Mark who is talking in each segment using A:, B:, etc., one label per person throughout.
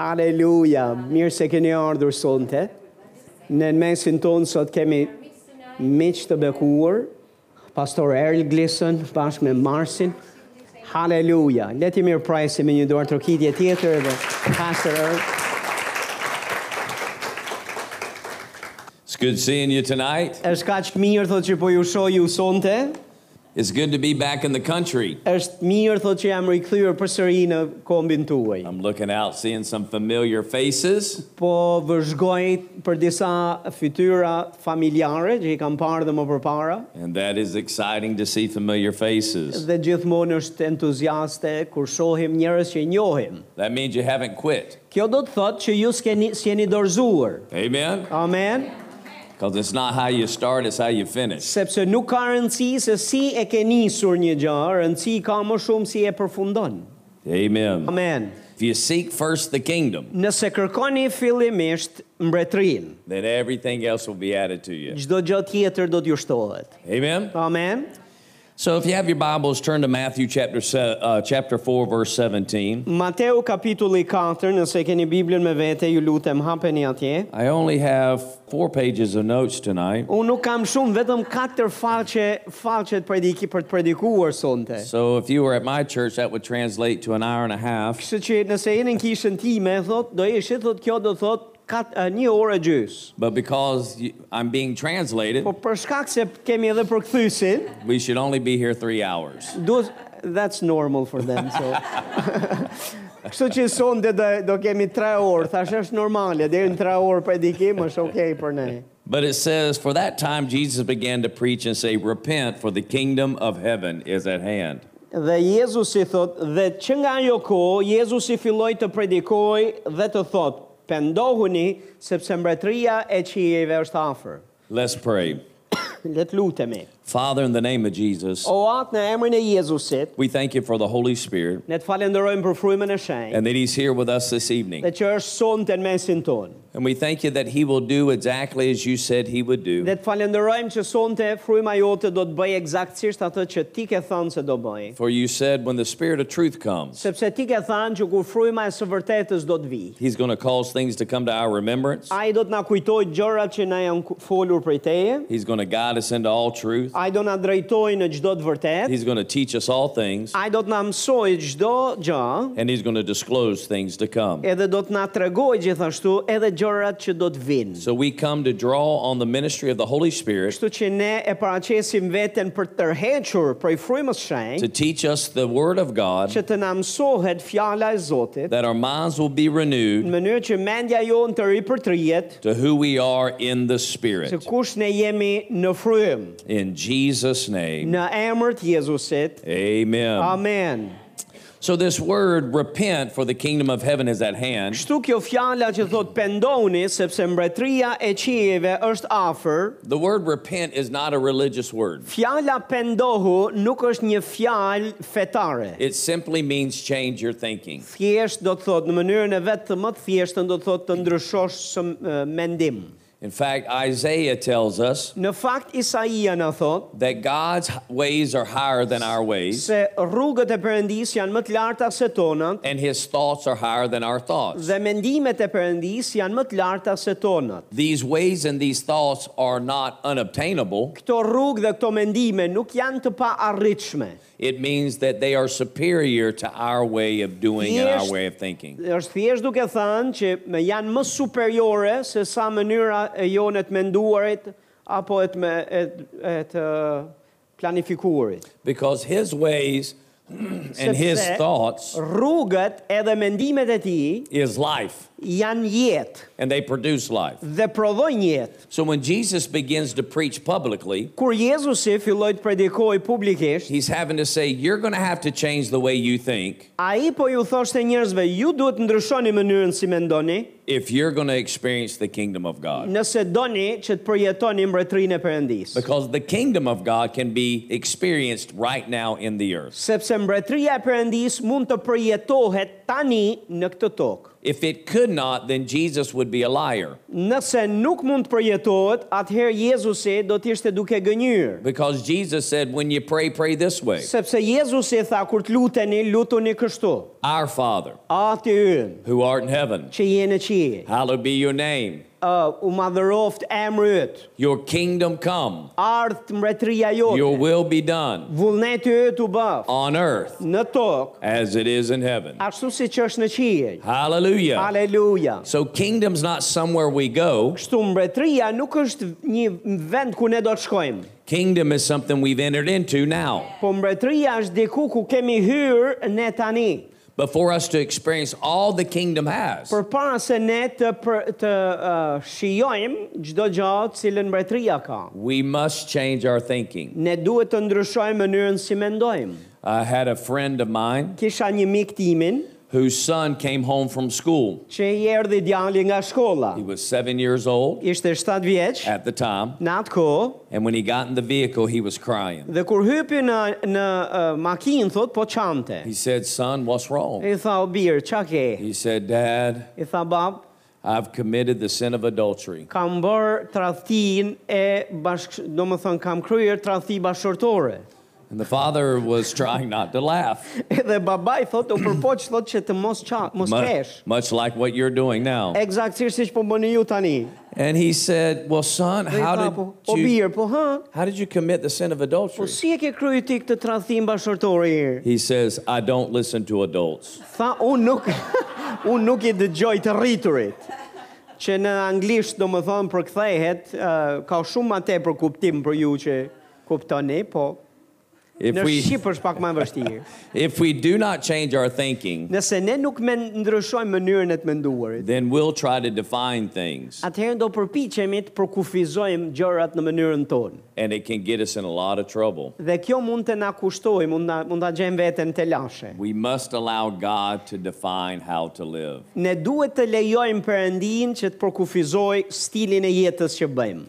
A: Haleluja, mirë se keni ardhur sonte. Në mesin tonë sot kemi miq të bekuar, pastor Erl Glison bashkë me Marsin. Haleluja, le të mirë prajsi me një dorë trokitje tjetër dhe pastor Erl.
B: It's good seeing you tonight.
A: Është kaq mirë thotë që po ju shoh ju sonte.
B: It's good to be back in the country.
A: Është mirë thotë që jam rikthyer përsëri në kombin tuaj.
B: I'm looking out, seeing some familiar faces.
A: po vëzhgoj për disa fytyra familjare që i kam parë dhe më përpara
B: And that is exciting to see familiar faces.
A: dhe gjithmonë është entuziaste kur shohim njerëz që i njohim.
B: That means you haven't quit.
A: Kjo do të thotë që ju s'keni s'jeni dorëzuar.
B: Amen?
A: Amen.
B: Because it's not how you start, it's how you finish.
A: Sepse nuk ka rëndësi se si e ke nisur një gjë, rëndësi ka më shumë si e përfundon.
B: Amen.
A: Amen.
B: If you seek first the kingdom,
A: Nëse kërkoni fillimisht mbretërinë,
B: then everything else will be added to you.
A: çdo gjë tjetër do t'ju shtohet.
B: Amen?
A: Amen.
B: So if you have your Bibles, turn to Matthew chapter, se- uh, chapter 4, verse 17.
A: Mateu kapitulli 4, nëse keni Biblën me vete, ju lutem hapeni atje.
B: I only have four pages of notes tonight.
A: Unë nuk kam shumë, vetëm 4 faqe, faqe të prediki për të predikuar sonte.
B: So if you were at my church, that would translate to an hour and a half.
A: Kështu që nëse jeni në kishën time, thot, do ishit, thot, kjo do thot, kat, e, një orë gjys.
B: But because you- I'm being translated,
A: Po për shkak se kemi edhe për këthysin,
B: we should only be here three hours.
A: duhet, that's normal for them, so. Kështu që sonte do, do kemi 3 orë, thash është normale, deri në 3 orë predikim është okay për ne.
B: But it says, For that time Jesus began to preach and say, Repent, for the kingdom of heaven is at hand.
A: Dhe Jezusi thot, dhe që nga ajo kohë, Jezusi filloi të predikoj dhe të thot, pendohuni, sepse mbretëria e qiejve është afër.
B: Let's pray.
A: Le të lutemi.
B: Father, in the name of Jesus,
A: O atë në emrin e Jezusit,
B: we thank you for the Holy Spirit
A: ne të falenderojmë për frymën e shenjtë,
B: and that He's here with us this evening.
A: dhe që është sonte në mesin tonë.
B: And we thank you that He will do exactly as you said He would do.
A: Dhe të falenderojmë që sonte fryma jote do të bëj eksaktësisht atë që ti ke thënë se do bëj.
B: For you said, When the Spirit of truth comes,
A: Sepse ti ke thënë që kur fryma e së vërtetës do të vijë,
B: He's going to cause things to come to our remembrance.
A: ai do të na kujtojë gjërat që na janë ku- folur prej teje.
B: He's going to guide us into all truth.
A: Ai do na drejtoj në çdo të vërtetë.
B: He's going to teach us all things,
A: Ai do të na mësoj çdo gjë,
B: and He's going to disclose things to come.
A: edhe do të na tregoj gjithashtu edhe gjërat që do të vinë.
B: So we come to draw on the ministry of the Holy Spirit
A: Kështu që ne e paraqesim veten për të tërhequr prej frymës
B: to
A: shenjtë,
B: teach us the Word of God,
A: që të na mësohet fjala e Zotit,
B: that our minds will be
A: në
B: renewed
A: mënyrë që mendja jonë të ripërtrihet
B: to who we are in the
A: se
B: Spirit.
A: kush ne jemi në frymë,
B: In Jesus' name,
A: në emër të Jezusit. Um,
B: amen.
A: Amen.
B: So, this word, repent, for the kingdom of heaven is at hand,
A: Kështu kjo fjala që thot pendoni sepse mbretëria e qiejve është afër,
B: the word repent is not a religious word.
A: Fjala pendohu nuk është një fjalë fetare.
B: It simply means change your thinking.
A: Thjesht do të thotë në mënyrën e vetë të më të thjeshtën do të thotë të ndryshosh së e, mendim.
B: In fact, Isaiah tells us
A: Në fakt Isaia na thotë
B: that God's ways are higher than our ways,
A: se rrugët e Perëndis janë më të larta se tonat
B: and his thoughts are higher than our thoughts.
A: dhe mendimet e Perëndis janë më të larta se tonat.
B: These ways and these thoughts are not unobtainable.
A: Këto rrugë dhe këto mendime nuk janë të paarritshme.
B: It means that they are superior to our way of doing and our
A: Yes.
B: way of thinking.
A: Është thjesht duke thënë që me janë më superiore se sa mënyra e jone të menduarit apo e të, me, e, e të planifikuarit.
B: Because his ways and his
A: Sepse-
B: thoughts
A: Rrugët edhe mendimet e ti
B: is life,
A: janë jetë
B: and they produce life.
A: dhe prodhojnë jetë.
B: So when Jesus begins to preach publicly,
A: Kur Jezusi filloi të predikoj publikisht,
B: he's having to say, You're going to have to change the way you think
A: a i po ju thoshte njerëzve, ju duhet të ndryshoni mënyrën si mendoni,
B: if you're going to experience the kingdom of God.
A: nëse doni që të përjetoni mbretërinë e Perëndis.
B: Because the kingdom of God can be experienced right now in the earth.
A: Sepse mbretëria e Perëndis mund të përjetohet tani në këtë tokë.
B: If it could not, then Jesus would be a liar
A: Nëse nuk mund të përjetohet, atëherë Jezusi do të ishte duke gënjur.
B: because Jesus said, when you pray, pray this way
A: Sepse Jezusi tha kur të luteni, lutuni kështu.
B: Our Father,
A: Ati ynë,
B: who art in heaven,
A: që je në qiell,
B: hallowed be your name.
A: uh, u madhëroft emri yt,
B: Your kingdom come,
A: ardh mbretëria
B: your
A: jote.
B: will be done
A: Vullneti yt u bëf
B: on earth
A: në tokë,
B: as it is in heaven.
A: ashtu siç është në qiell.
B: Hallelujah.
A: Aleluja.
B: So, kingdom's not somewhere we go,
A: Kështu mbretëria nuk është një vend ku ne do të shkojmë.
B: kingdom is something we've entered into now.
A: Po mbretëria është diku ku kemi hyrë ne tani.
B: But for us to experience all the kingdom has,
A: Për para se ne të, për, të uh, shijojmë gjdo gjatë cilën mbretëria ka.
B: we must change our thinking.
A: Ne duhet të ndryshojmë mënyrën si mendojmë.
B: I had a friend of mine
A: Kisha një mik timin
B: whose son came home from school.
A: që i erdi djali nga shkolla.
B: He was seven years old
A: Ishte 7 vjeç
B: at the time,
A: në atë kohë
B: and when he got in the vehicle, he was crying.
A: dhe kur hypi në, në uh, makinë thot po çante.
B: He said, Son, what's wrong?
A: I tha o birë, qa ke?
B: He said, Dad,
A: I tha bab,
B: I've committed the sin of adultery.
A: kam bërë tradhtin e bashk, do më thënë kam kryer tradhti bashkëshortore.
B: And the father was trying not to laugh,
A: Edhe baba i thot, o përpoq thot që të mos qa, mos
B: mu-
A: kesh.
B: much like what you're doing now.
A: Eksaktësisht siç po bëni ju tani.
B: And he said, Well, son,
A: Dhe i
B: how
A: tha,
B: did
A: po, o
B: you,
A: birë, po ha,
B: how did you commit the sin of
A: po
B: adultery?
A: si e ke kryu ti këtë tradhtim bashkëshortore herë?
B: He says, I don't listen to adults.
A: Tha, unë nuk, unë nuk i dëgjoj të rriturit. Që në anglisht, do më thënë, për këthejhet, ka shumë ma te për kuptim për ju që kuptoni, po
B: If
A: në
B: we
A: Shqipë është pak ma vështirë.
B: if we do not change our thinking,
A: Nëse ne nuk me ndryshojmë mënyrën e të menduarit,
B: then we'll try to define things
A: atëherë do përpiqemi të përkufizojmë gjërat në mënyrën tonë.
B: and it can get us in a lot of trouble.
A: Dhe kjo mund të na kushtoj, mund na mund ta gjejmë veten të lashe.
B: We must allow God to define how to live.
A: Ne duhet të lejojmë Perëndin që të përkufizoj stilin e jetës që bëjmë.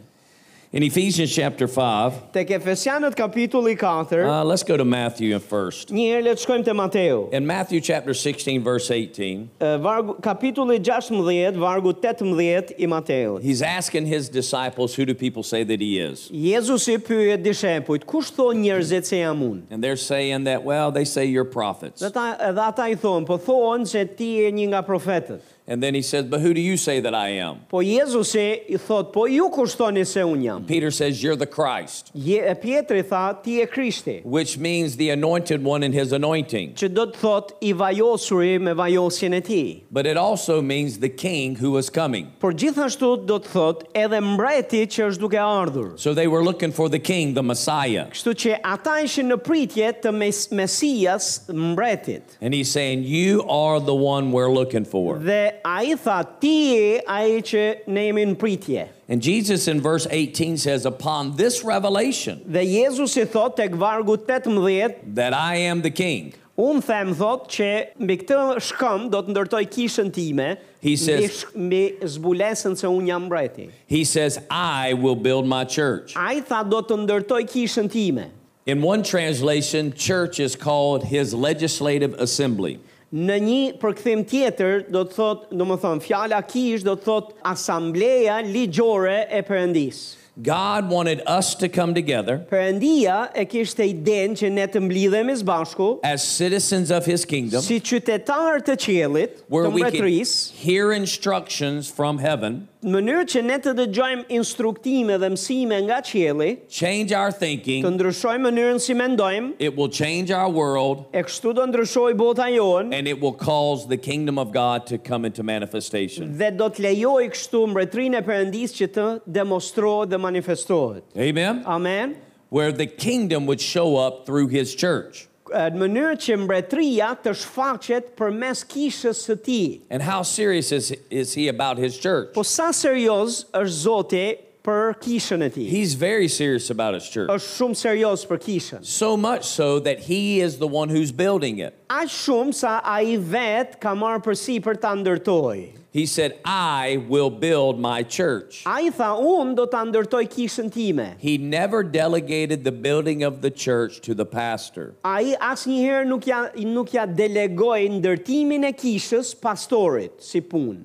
B: In Ephesians chapter 5,
A: Tek Efesianët kapitulli 4,
B: uh, let's go to Matthew first.
A: një herë le të shkojmë te Mateu.
B: In Matthew chapter 16, verse 18,
A: Ë, Vargu, kapitulli 16, vargu 18 i Mateut.
B: he's asking his disciples, Who do people say that he is?
A: Jezusi pyet dishepujt, kush thon njerëzit se jam unë?
B: And they're saying that, well, they say you're prophets.
A: Dhe ata, edhe ata i thonë, po thonë se ti je një nga profetët.
B: And then he says, But who do you say that I am?
A: Po Jezusi i thot, po ju kushtoni se unë jam.
B: Peter says, You're the Christ,
A: Je, Pietri tha, ti je Krishti.
B: which means the anointed one and his anointing.
A: që do të thot i vajosuri me vajosjen e ti.
B: But it also means the king who was coming.
A: Por gjithashtu do të thot edhe mbreti që është duke ardhur.
B: So they were looking for the king, the Messiah.
A: Kështu që ata ishin në pritje të mes Mesias mbretit.
B: And he's saying, You are the one we're looking for.
A: Dhe a i tha, ti e a i që ne jemi në pritje.
B: And Jesus in verse 18 says, Upon this revelation
A: Dhe Jezus i thot tek vargu 18,
B: that I am the king,
A: unë them thot që mbi këtë shkëm do të ndërtoj kishën time,
B: He
A: mbi,
B: says-
A: sh- mbi zbulesën se unë jam mbreti.
B: he says, I will build my church.
A: A i tha do të ndërtoj kishën time.
B: In one translation, church is called his legislative assembly.
A: Në një përkthim tjetër do të thotë, domethënë fjala kish do të thotë asambleja ligjore e Perëndis.
B: God wanted us to come together
A: Perëndia e kishte idenë që ne të mblidhemi së bashku
B: as citizens of his kingdom
A: si qytetarë të qiellit,
B: where
A: të
B: we can
A: mbretërisë,
B: hear instructions from heaven,
A: në mënyrë që ne të dëgjojmë instruktime dhe mësime nga qielli,
B: change our thinking.
A: të ndryshojmë mënyrën si mendojmë,
B: It will change our world
A: e kështu do ndryshojë bota jonë
B: and it will cause the kingdom of God to come into manifestation.
A: dhe do të lejojë kështu mbretërinë e Perëndis që të demonstrohet dhe manifestohet.
B: Amen.
A: Amen.
B: Where the kingdom would show up through his church.
A: në mënyrë që mbretëria të shfaqet përmes kishës së tij.
B: And how serious is, is he about his church?
A: Po sa serioz është Zoti për kishën e tij.
B: He's very serious about his church.
A: Është shumë serioz për kishën.
B: So much so that he is the one who's building it.
A: Aq shumë sa ai vet ka marrë përsi për ta ndërtoi.
B: He said, I will build my church.
A: Ai tha, unë do ta ndërtoj kishën time.
B: He never delegated the building of the church to the pastor.
A: Ai asnjëherë nuk ja nuk ja delegoi ndërtimin e kishës pastorit si punë.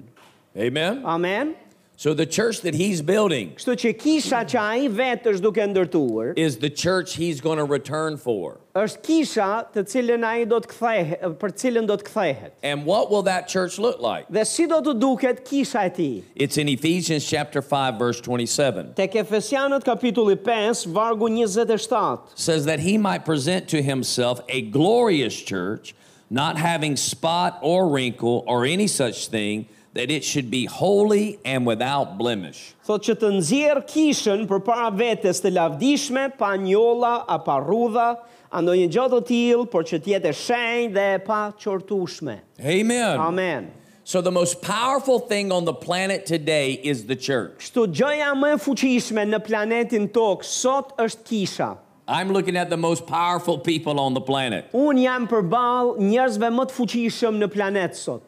B: Amen?
A: Amen.
B: So the church that he's building
A: Kështu që kisha që ai vetë është duke ndërtuar,
B: is the church he's going to return for.
A: është kisha të cilën ai do të kthehet, për cilën do të kthehet.
B: And what will that church look like?
A: Dhe si do të duket kisha e tij?
B: It's in Ephesians chapter 5 verse 27.
A: Tek Efesianët kapitulli 5, vargu 27.
B: Says that he might present to himself a glorious church, not having spot or wrinkle or any such thing, that it should be holy and without blemish.
A: Thot që të nxjerr kishën përpara vetes të lavdishme, pa njolla, a pa rrudha, a ndonjë gjë të tillë, por që të jetë e shenjtë dhe e pa qortushme.
B: Amen.
A: Amen.
B: So the most powerful thing on the planet today is the church.
A: Kështu gjëja më e fuqishme në planetin Tokë sot është kisha.
B: I'm looking at the most powerful people on the planet.
A: Un jam përball njerëzve më të fuqishëm në planet sot.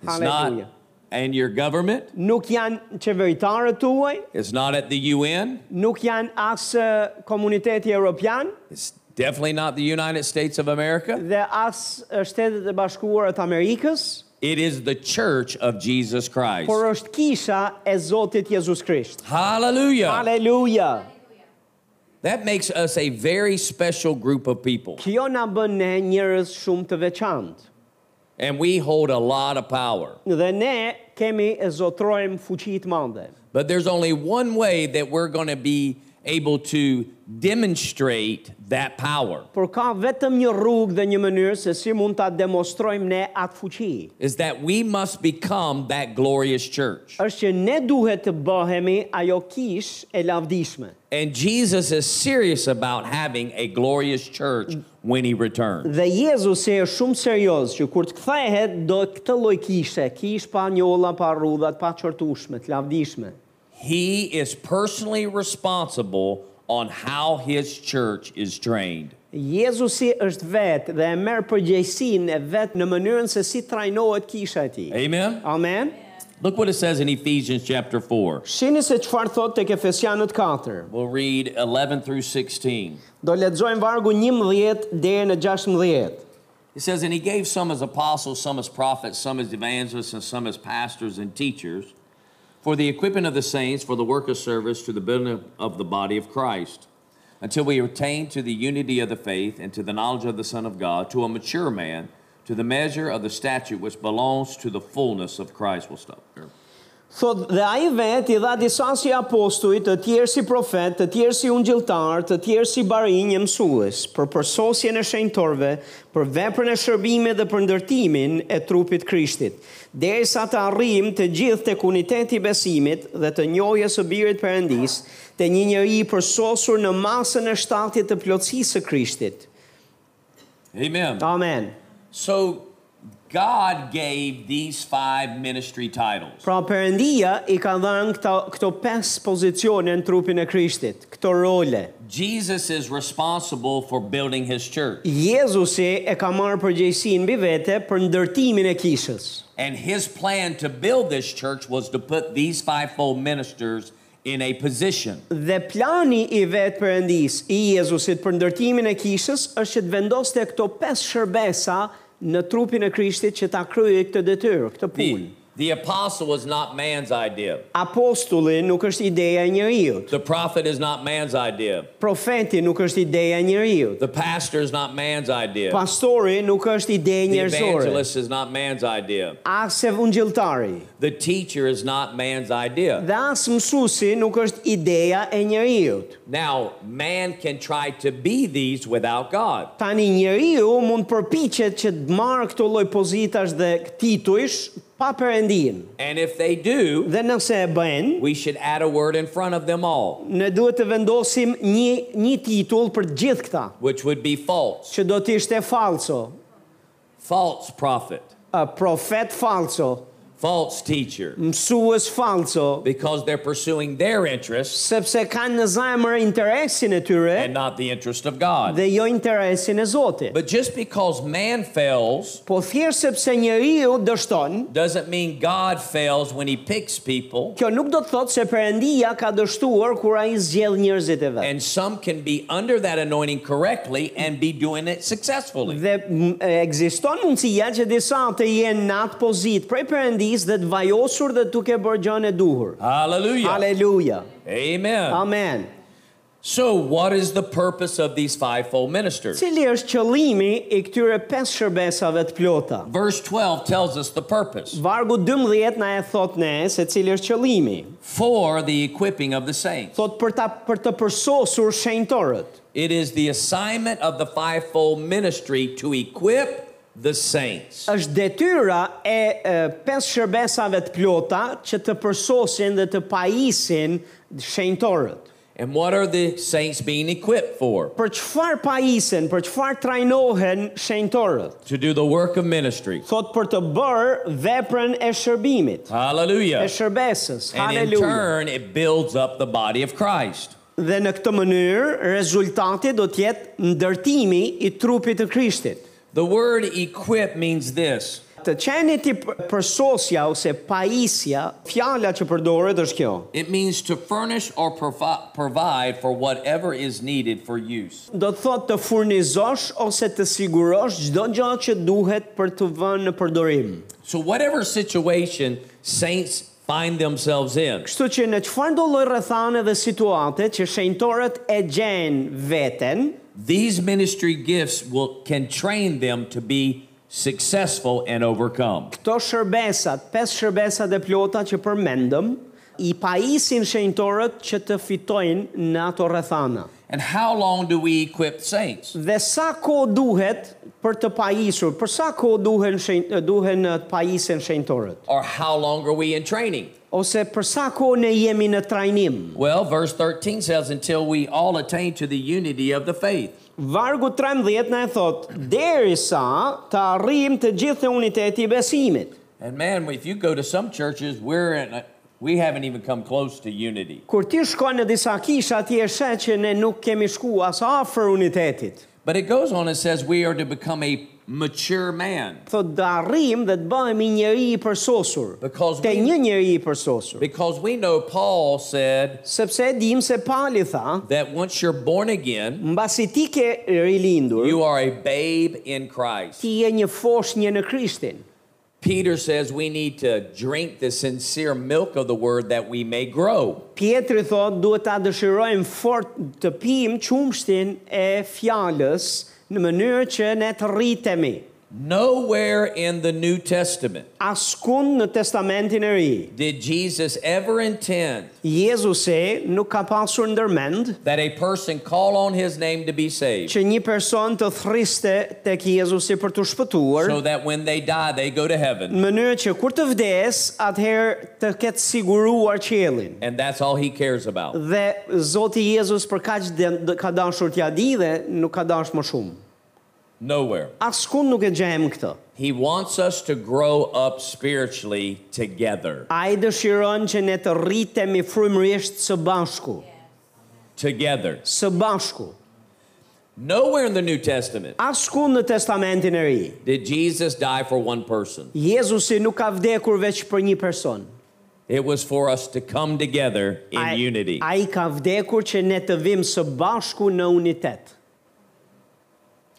B: It's
A: Hallelujah.
B: not and your government,
A: Nuk janë qeveritarët tuaj,
B: it's not at the UN,
A: nuk janë as eh, komuniteti evropian
B: it's definitely not the United States of America.
A: dhe as eh, Shtetet e Bashkuara të Amerikës,
B: It is the church of Jesus Christ.
A: por është kisha e Zotit Jezus Krisht.
B: Hallelujah.
A: Aleluja.
B: That makes us a very special group of people
A: Kjo na bën ne njerëz shumë të veçantë.
B: and we hold a lot of power.
A: Dhe ne kemi e zotrojmë fuqi të madhe.
B: But there's only one way that we're going to be able to demonstrate that power.
A: Por ka vetëm një rrugë dhe një mënyrë se si mund ta demonstrojmë ne atë fuqi.
B: is that we must become that glorious church.
A: Është që ne duhet të bëhemi ajo kish e lavdishme.
B: And Jesus is serious about having a glorious church when he returns.
A: Dhe Jezusi është shumë serioz që kur të kthehet do këtë lloj kishe, kish pa njolla, pa rrudhat, pa qortushme, të lavdishme.
B: He is personally responsible on how his church is trained.
A: Jezusi është vetë dhe e merr përgjegjësinë e vetë në mënyrën se si trajnohet kisha e tij.
B: Amen.
A: Amen.
B: Look what it says in Ephesians chapter 4.
A: Shini se çfarë thot tek Efesianët 4.
B: We'll read 11 through 16.
A: Do lexojmë vargu 11 deri në 16.
B: It says, And he gave some as apostles, some as prophets, some as evangelists, and some as pastors and teachers for the equipment of the saints, for the work of service, to the building of the body of Christ, until we attain to the unity of the faith and to the knowledge of the Son of God, to a mature man, to the measure of the stature which belongs to the fullness of Christ. We'll stop there.
A: Thot dhe ai vet i dha disa si apostuj, të tjerë si profet, të tjerë si ungjilltar, të tjerë si barinj e mësues, për përsosjen e shenjtorve, për veprën e shërbimit dhe për ndërtimin e trupit Krishtit, derisa të arrijmë të gjithë tek uniteti i besimit dhe të njohjes së birit perëndis, te një njeri i përsosur në masën e shtatit të plotësisë së Krishtit.
B: Amen.
A: Amen.
B: So God gave these five ministry titles.
A: Pra Perëndia i ka dhënë këto këto pesë pozicione në trupin e Krishtit, këto role.
B: Jesus is responsible for building his church.
A: Jezusi e ka marrë përgjegjësinë mbi vete për ndërtimin e kishës.
B: And his plan to build this church was to put these fivefold ministers in a position.
A: Dhe plani i vetë përëndis i Jezusit për ndërtimin e kishës është që të vendoste këto pesë shërbesa në trupin e Krishtit që ta kryej këtë detyrë, këtë punë.
B: The, the apostle was not man's idea.
A: Apostulli nuk është ideja e njeriu.
B: The prophet is not man's idea.
A: Profeti nuk është ideja e njeriu.
B: The pastor is not man's idea.
A: Pastori nuk është ide
B: The
A: njerëzore.
B: evangelist is not man's idea.
A: As evangjeltari
B: The teacher is not man's idea.
A: dhe as mësuesi nuk është ideja e njeriu.
B: Now, man can try to be these without God.
A: Tani njeriu mund përpiqet që të marrë këto lloj pozitash dhe titujsh pa perëndin.
B: And if they do,
A: Dhe nëse e bëjnë,
B: we should add a word in front of them all,
A: ne duhet të vendosim një një titull për të gjithë këta,
B: which would be false.
A: që do të ishte falso,
B: False prophet,
A: a profet falso,
B: false teacher
A: mësues falso,
B: because they're pursuing their interests
A: sepse kanë në zemër interesin e tyre
B: and not the interest of God.
A: dhe jo interesin e Zotit.
B: But just because man fails
A: Po thjesht sepse njeriu dështon,
B: doesn't mean God fails when he picks people,
A: kjo nuk do të thotë se Perëndia ka dështuar kur ai zgjedh njerëzit e vet.
B: and some can be under that anointing correctly and be doing it successfully.
A: Dhe m, e, ekziston mundësia që disa të jenë në atë pozitë prej Perëndisë dhe të vajosur dhe duke bërë gjën e duhur.
B: Hallelujah.
A: Aleluja.
B: Amen.
A: Amen.
B: So, what is the purpose of these fivefold ministers?
A: Cili është qëllimi i këtyre pesë shërbesave të plota?
B: Verse 12 tells us the purpose
A: Vargu 12 na e thot ne se cili është qëllimi.
B: for the equipping of the saints.
A: Thot për ta për të përsosur shenjtorët.
B: It is the assignment of the fivefold ministry to equip the saints.
A: është detyra e, e pesë shërbesave të plota që të përsosin dhe të pajisin shenjtorët.
B: And what are the saints being equipped for?
A: Për çfarë pajisen, për çfarë trajnohen shenjtorët?
B: To do the work of ministry.
A: Thot për të bërë veprën e shërbimit, e
B: Hallelujah.
A: shërbesës.
B: And in
A: Haleluja.
B: turn, it builds up the body of Christ.
A: Dhe në këtë mënyrë rezultati do të jetë ndërtimi i trupit të Krishtit.
B: The word equip means this
A: Të qenit i p- përsosja ose pajisja, fjala që përdoret është kjo.
B: it means to furnish or provi- provide for whatever is needed for use.
A: do të thotë të furnizosh ose të sigurosh çdo gjë që duhet për të vënë në përdorim.
B: So, whatever situation saints find themselves in,
A: Kështu që në çfarë do lloj rrethane dhe situate që shenjtorët e gjejnë veten,
B: these ministry gifts will, can train them to be successful and overcome.
A: këto shërbesat, pesë shërbesat e plota që përmendëm, i pajisin shenjtorët që të fitojnë në ato rrethana.
B: And how long do we equip saints?
A: Dhe sa kohë duhet për të pajisur? Për sa kohë duhen shenj, duhen të pajisen shenjtorët?
B: Or how long are we in training?
A: Ose për sa kohë ne jemi në trajnim?
B: Well, verse 13 says, until we all attain to the unity of the faith.
A: Vargu 13 na e thot, derisa të arrijmë të gjithë në uniteti i besimit.
B: And man, if you go to some churches, we're in a, we haven't even come close to unity.
A: Kur ti shkon në disa kisha, ti e sheh që ne nuk kemi shku as afër unitetit.
B: But it goes on and says we are to become a mature man
A: Thot të arrijmë dhe të bëhemi njeri i përsosur.
B: because
A: Te
B: we,
A: një njeri i përsosur.
B: because we know Paul said
A: Sepse e dim se Pali tha,
B: that once you're born again,
A: mbasi ti ke rilindur,
B: you are a babe in Christ.
A: ti je një foshnjë në Krishtin.
B: Peter says we need to drink the sincere milk of the word that we may grow.
A: Pietri thot duhet ta dëshirojmë fort të pim qumshtin e fjalës në mënyrë që ne të rritemi.
B: Nowhere in the New Testament
A: Askund në testamentin e ri,
B: did Jesus ever intend
A: Jezusi nuk ka pasur ndërmend
B: that a person call on his name to be saved
A: që një person të thriste tek Jezusi për të shpëtuar,
B: so that when they die they go to heaven
A: në mënyrë që kur të vdes, atëherë të ketë siguruar qelin.
B: and that's all he cares about
A: Dhe Zoti Jezus për kaq dhe- dhe ka dashur t'ja di dhe nuk ka dashur më shumë.
B: nowhere
A: Askund nuk e gjem këtë.
B: he wants us to grow up spiritually together
A: A i dëshiron që ne të rritemi frymërisht së bashku,
B: together
A: së bashku.
B: nowhere in the new testament
A: Asku në testamentin e ri,
B: did jesus die for one person
A: Jezusi nuk ka vdekur veç për një person.
B: it was for us to come together in
A: Ai-
B: unity
A: ai ka vdekur që ne të vim së bashku në unitet.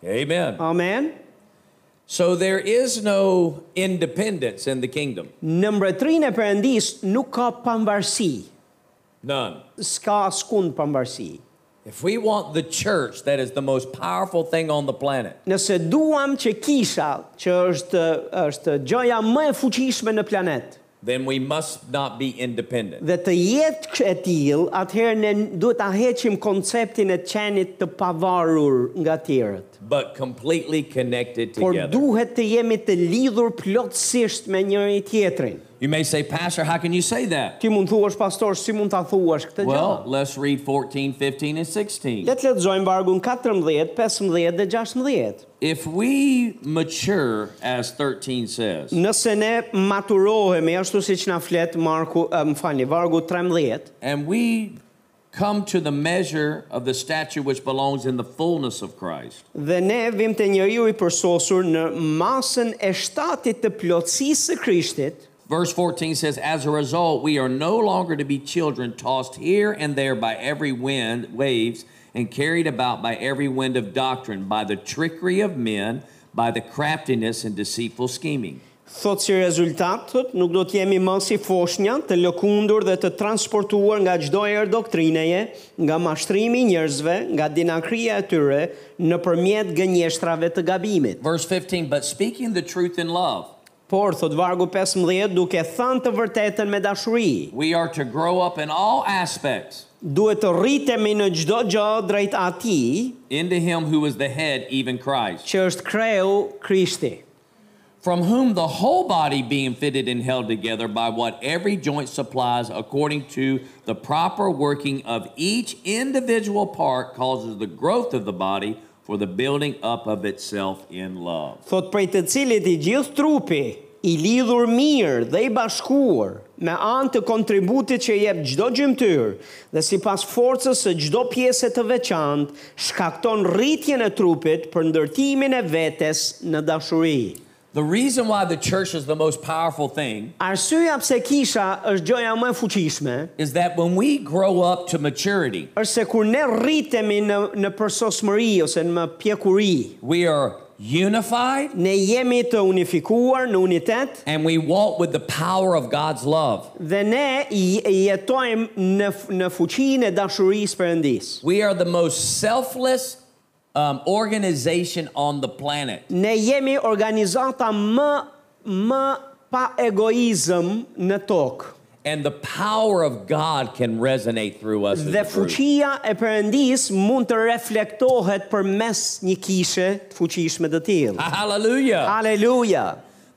B: amen
A: Amen.
B: so there is no independence in the kingdom
A: Në mbretërinë e Perëndis nuk ka pambarësi.
B: none
A: S'ka askund pambarësi.
B: if we want the church that is the most powerful thing on the planet
A: Nëse duam që kisha, që është është gjëja më e fuqishme në planet,
B: then we must not be independent.
A: dhe të jetë kë- e tillë, atëherë ne duhet ta heqim konceptin e qenit të pavarur nga tjerët.
B: but completely connected
A: Por
B: together.
A: duhet të jemi të lidhur plotësisht me njëri tjetrin.
B: You may say, Pastor, how can you say that?
A: Ti mund thuash pastor, si mund ta thuash këtë gjë?
B: Well, let's read 14, 15, and 16.
A: Le të lexojmë vargun 14, 15 dhe 16.
B: If we mature, as 13 says,
A: Nëse ne maturohemi ashtu siç na flet Marku, eh, më falni, vargu 13,
B: and we come to the measure of the stature which belongs in the fullness of Christ,
A: dhe ne vim te njeriu i përsosur në masën e shtatit të plotësisë së Krishtit,
B: Verse 14 says, As a result, we are no longer to be children tossed here and there by every wind, waves, and carried about by every wind of doctrine, by the trickery of men, by the craftiness and deceitful scheming.
A: Thot si rezultat, thot, nuk do të jemi më si foshnja, të lëkundur dhe të transportuar nga çdo erë doktrineje, nga mashtrimi i njerëzve, nga dinakria e tyre nëpërmjet gënjeshtrave të gabimit.
B: Verse 15, but speaking the truth in love,
A: Por thot vargu 15 duke thënë të vërtetën me dashuri,
B: we are to grow up in all aspects
A: duhet të rritemi në çdo gjë drejt atij
B: into Him who is the head, even Christ,
A: që është kreu Krishti,
B: from whom the whole body being fitted and held together by what every joint supplies according to the proper working of each individual part causes the growth of the body for the building up of itself in love.
A: thot prej të cilit i gjithë trupi i lidhur mirë dhe i bashkuar me anë të kontributit që jep çdo gjymtyr dhe sipas forcës së çdo pjese të veçantë shkakton rritjen e trupit për ndërtimin e vetes në dashuri.
B: The reason why the church is the most powerful thing
A: Arsyeja pse kisha është gjëja më e fuqishme
B: is that when we grow up to maturity,
A: është se kur ne rritemi në në përsosmëri ose në pjekuri,
B: we are unified
A: ne jemi të unifikuar në unitet
B: and we walk with the power of God's love.
A: Dhe ne i- i jetojmë në, f- në fuqinë e dashurisë Perëndis.
B: We are the most selfless um, organization on the planet.
A: Ne jemi organizata më më pa egoizëm në tokë.
B: And the power of God can resonate through us.
A: Dhe
B: As a group.
A: fuqia e Perëndis mund të reflektohet përmes një kishe të fuqishme të tillë.
B: Hallelujah.
A: Aleluja.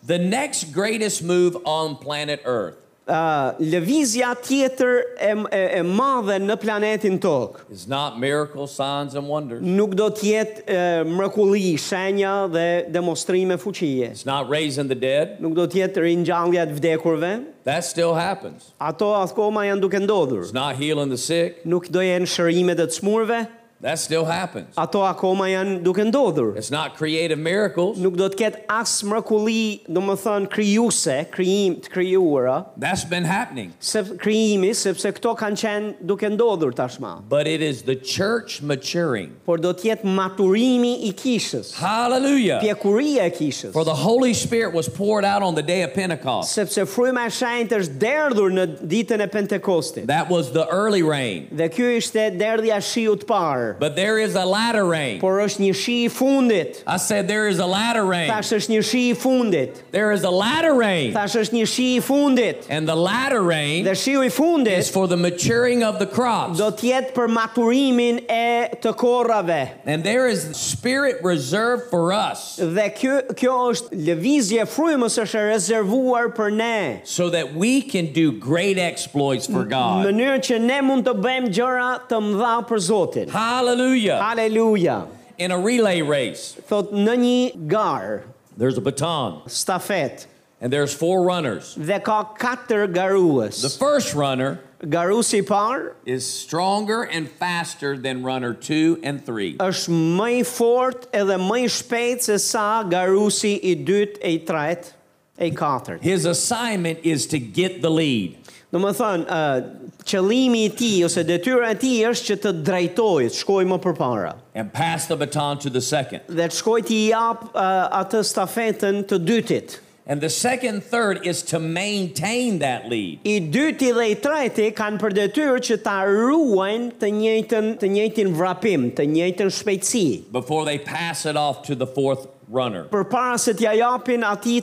B: The next greatest move on planet Earth
A: Uh, lëvizja tjetër e, m- e, e madhe në planetin tokë
B: is not miracles, signs, and wonders.
A: nuk do të jetë e, mrekulli, shenja dhe demonstrime fuqie.
B: It's not raising the dead.
A: Nuk do të jetë ringjallja e të vdekurve,
B: That still happens.
A: Ato akoma janë duke ndodhur.
B: It's not healing the sick.
A: Nuk do jenë shërimet e të smurve,
B: That still happens.
A: ato akoma janë duke ndodhur.
B: It's not creative miracles.
A: Nuk do të ketë as mrekulli, do më thënë, kryuse, kryim, të kryuara,
B: That's been happening.
A: se kryimi, sepse këto kanë qenë duke ndodhur tashma.
B: But it is the church maturing.
A: Por do të jetë maturimi i kishës,
B: Hallelujah.
A: pjekuria e kishës.
B: For the Holy Spirit was poured out on the day of Pentecost.
A: Sepse fryma e shenjtë është derdhur në ditën e Pentekostit.
B: That was the early rain.
A: Dhe kjo ishte derdhja shiu të parë,
B: But there is a latter rain.
A: por është një shi i fundit.
B: I said, There is a latter rain.
A: Tash është një shi i fundit.
B: There is a latter rain.
A: Tash është një shi i fundit.
B: And the latter rain
A: Dhe shiu i
B: is
A: fundit
B: for the maturing of the crops.
A: do të jetë për maturimin e të korrave.
B: And there is spirit reserved for us
A: Dhe kjo kjo është lëvizje e frymës është e rezervuar për ne.
B: so that we can do great exploits for
A: Në
B: God.
A: mënyrë që ne mund të bëjmë gjëra të mëdha për Zotin.
B: Hallelujah.
A: Haleluja.
B: In a relay race,
A: Thot në një garë,
B: there's a baton
A: stafet,
B: and there's four runners.
A: dhe ka katër garues.
B: The first runner
A: Garuesi i parë
B: is stronger and faster than runner two and three.
A: është më i fortë edhe më i shpejtë se sa garuesi i dytë, e i tretë, e i katërt.
B: His assignment is to get the lead.
A: Në më thënë, uh, qëlimi i ti ose detyra e ti është që të drejtoj, të shkoj më përpara.
B: And pass the baton to the second.
A: Dhe të shkoj t'i jap uh, atë stafetën të dytit.
B: And the second and third is to maintain that lead.
A: I dyti dhe i treti kanë për detyrë që ta ruajnë të njëjtën të njëjtin vrapim, të njëjtën shpejtësi
B: before they pass it off to the fourth runner.
A: për para se t'ja japin ati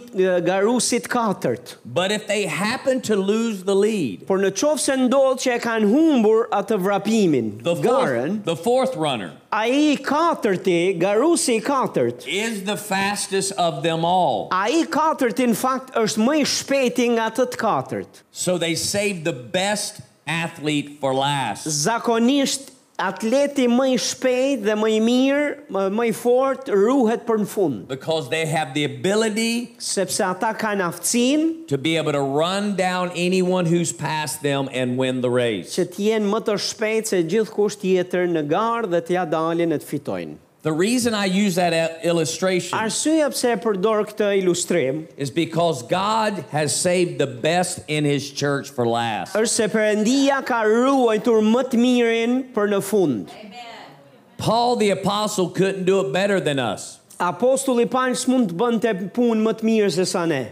A: garusit katërt.
B: But if they happen to lose the lead,
A: Por në qovë se ndodhë që e kanë humbur atë vrapimin,
B: the
A: garën,
B: fourth, the fourth runner
A: a i katërti, garusi i katërt,
B: is the fastest of them all.
A: a i katërti në fakt është më i shpeti nga të të katërt.
B: So they save the best athlete for last.
A: Zakonisht atleti më i shpejt dhe më i mirë, më, më i fort, ruhet për në fund.
B: because they have the ability
A: Sepse ata kanë aftësin
B: to be able to run down anyone who's past them and win the race.
A: që t'jenë më të shpejt se gjithë kusht tjetër në garë dhe t'ja dalin e të fitojnë.
B: The reason I use that i- illustration
A: Arsyeja pse e përdor këtë ilustrim
B: is because God has saved the best in His church for last.
A: është se Perëndia ka ruajtur më të mirin për në fund.
B: Paul the apostle couldn't do it better than us
A: Apostulli Paul s'mund të bënte punë më të mirë se sa ne,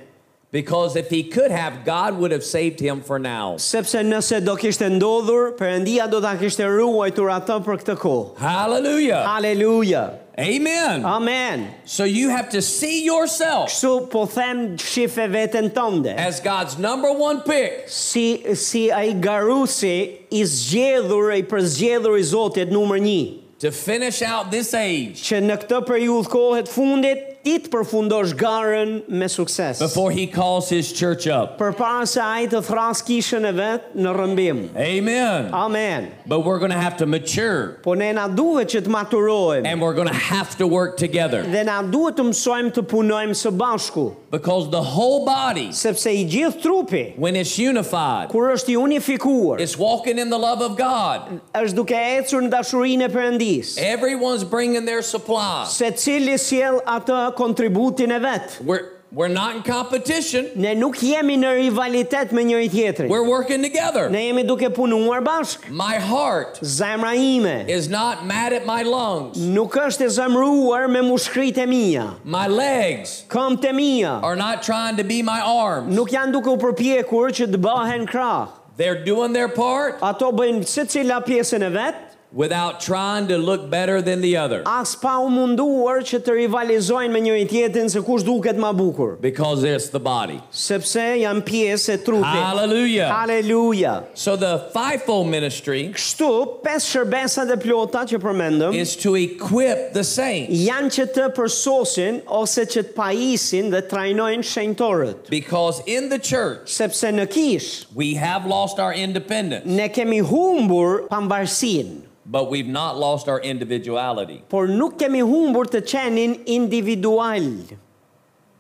B: because if he could have, God would have saved him for now.
A: sepse nëse do kishte ndodhur, Perëndia do ta kishte ruajtur atë për këtë kohë.
B: Hallelujah.
A: Haleluja.
B: Amen.
A: Amen.
B: So you have to see yourself
A: Kështu po them shife veten tënde.
B: as God's number one pick
A: Si si ai garusi i zgjedhur, i përzgjedhur i Zotit numër 1
B: to finish out this age
A: që në këtë periudhë kohë të fundit ti të përfundosh garën me sukses.
B: before He calls His church up.
A: përpara se ai të thras kishën e vet në rrëmbim.
B: Amen.
A: Amen.
B: But we're going to have to mature
A: Po ne na duhet që të maturohemi
B: and we're going to have to work together
A: dhe na duhet të mësojmë të punojmë së bashku,
B: because the whole body,
A: sepse i gjithë trupi
B: when it's unified,
A: kur është i unifikuar,
B: it's walking in the love of God.
A: është duke ecur në dashurinë e Perëndisë.
B: Everyone's bringing their supply.
A: Se cili sjell atë kontributin e vet.
B: We're, we're not in competition,
A: Ne nuk jemi në rivalitet me njëri tjetrin.
B: we're working together.
A: Ne jemi duke punuar bashkë.
B: My heart
A: Zemra ime
B: is not mad at my lungs,
A: Nuk është e zemruar me mushkrit e mija,
B: my legs
A: këmët e mija,
B: are not trying to be my arms.
A: nuk janë duke u përpjekur që të bëhen krah.
B: They're doing their part
A: Ato bëjnë se cila pjesën e vetë,
B: without trying to look better than the other
A: as pa u munduar që të rivalizojnë me njëri tjetin se kush duket ma bukur,
B: because it's the body.
A: sepse janë pjesë e trupit.
B: Hallelujah.
A: Haleluja.
B: So the fivefold ministry
A: Kështu, pes shërbesat e plota që përmendëm,
B: is to equip the saints
A: janë që të përsosin ose që të pajisin dhe trajnojnë shenjtorët.
B: because in the church
A: Sepse në kish,
B: we have lost our independence,
A: ne kemi humbur pambarsinë.
B: but we've not lost our individuality
A: por nuk kemi humbur të qenin individual,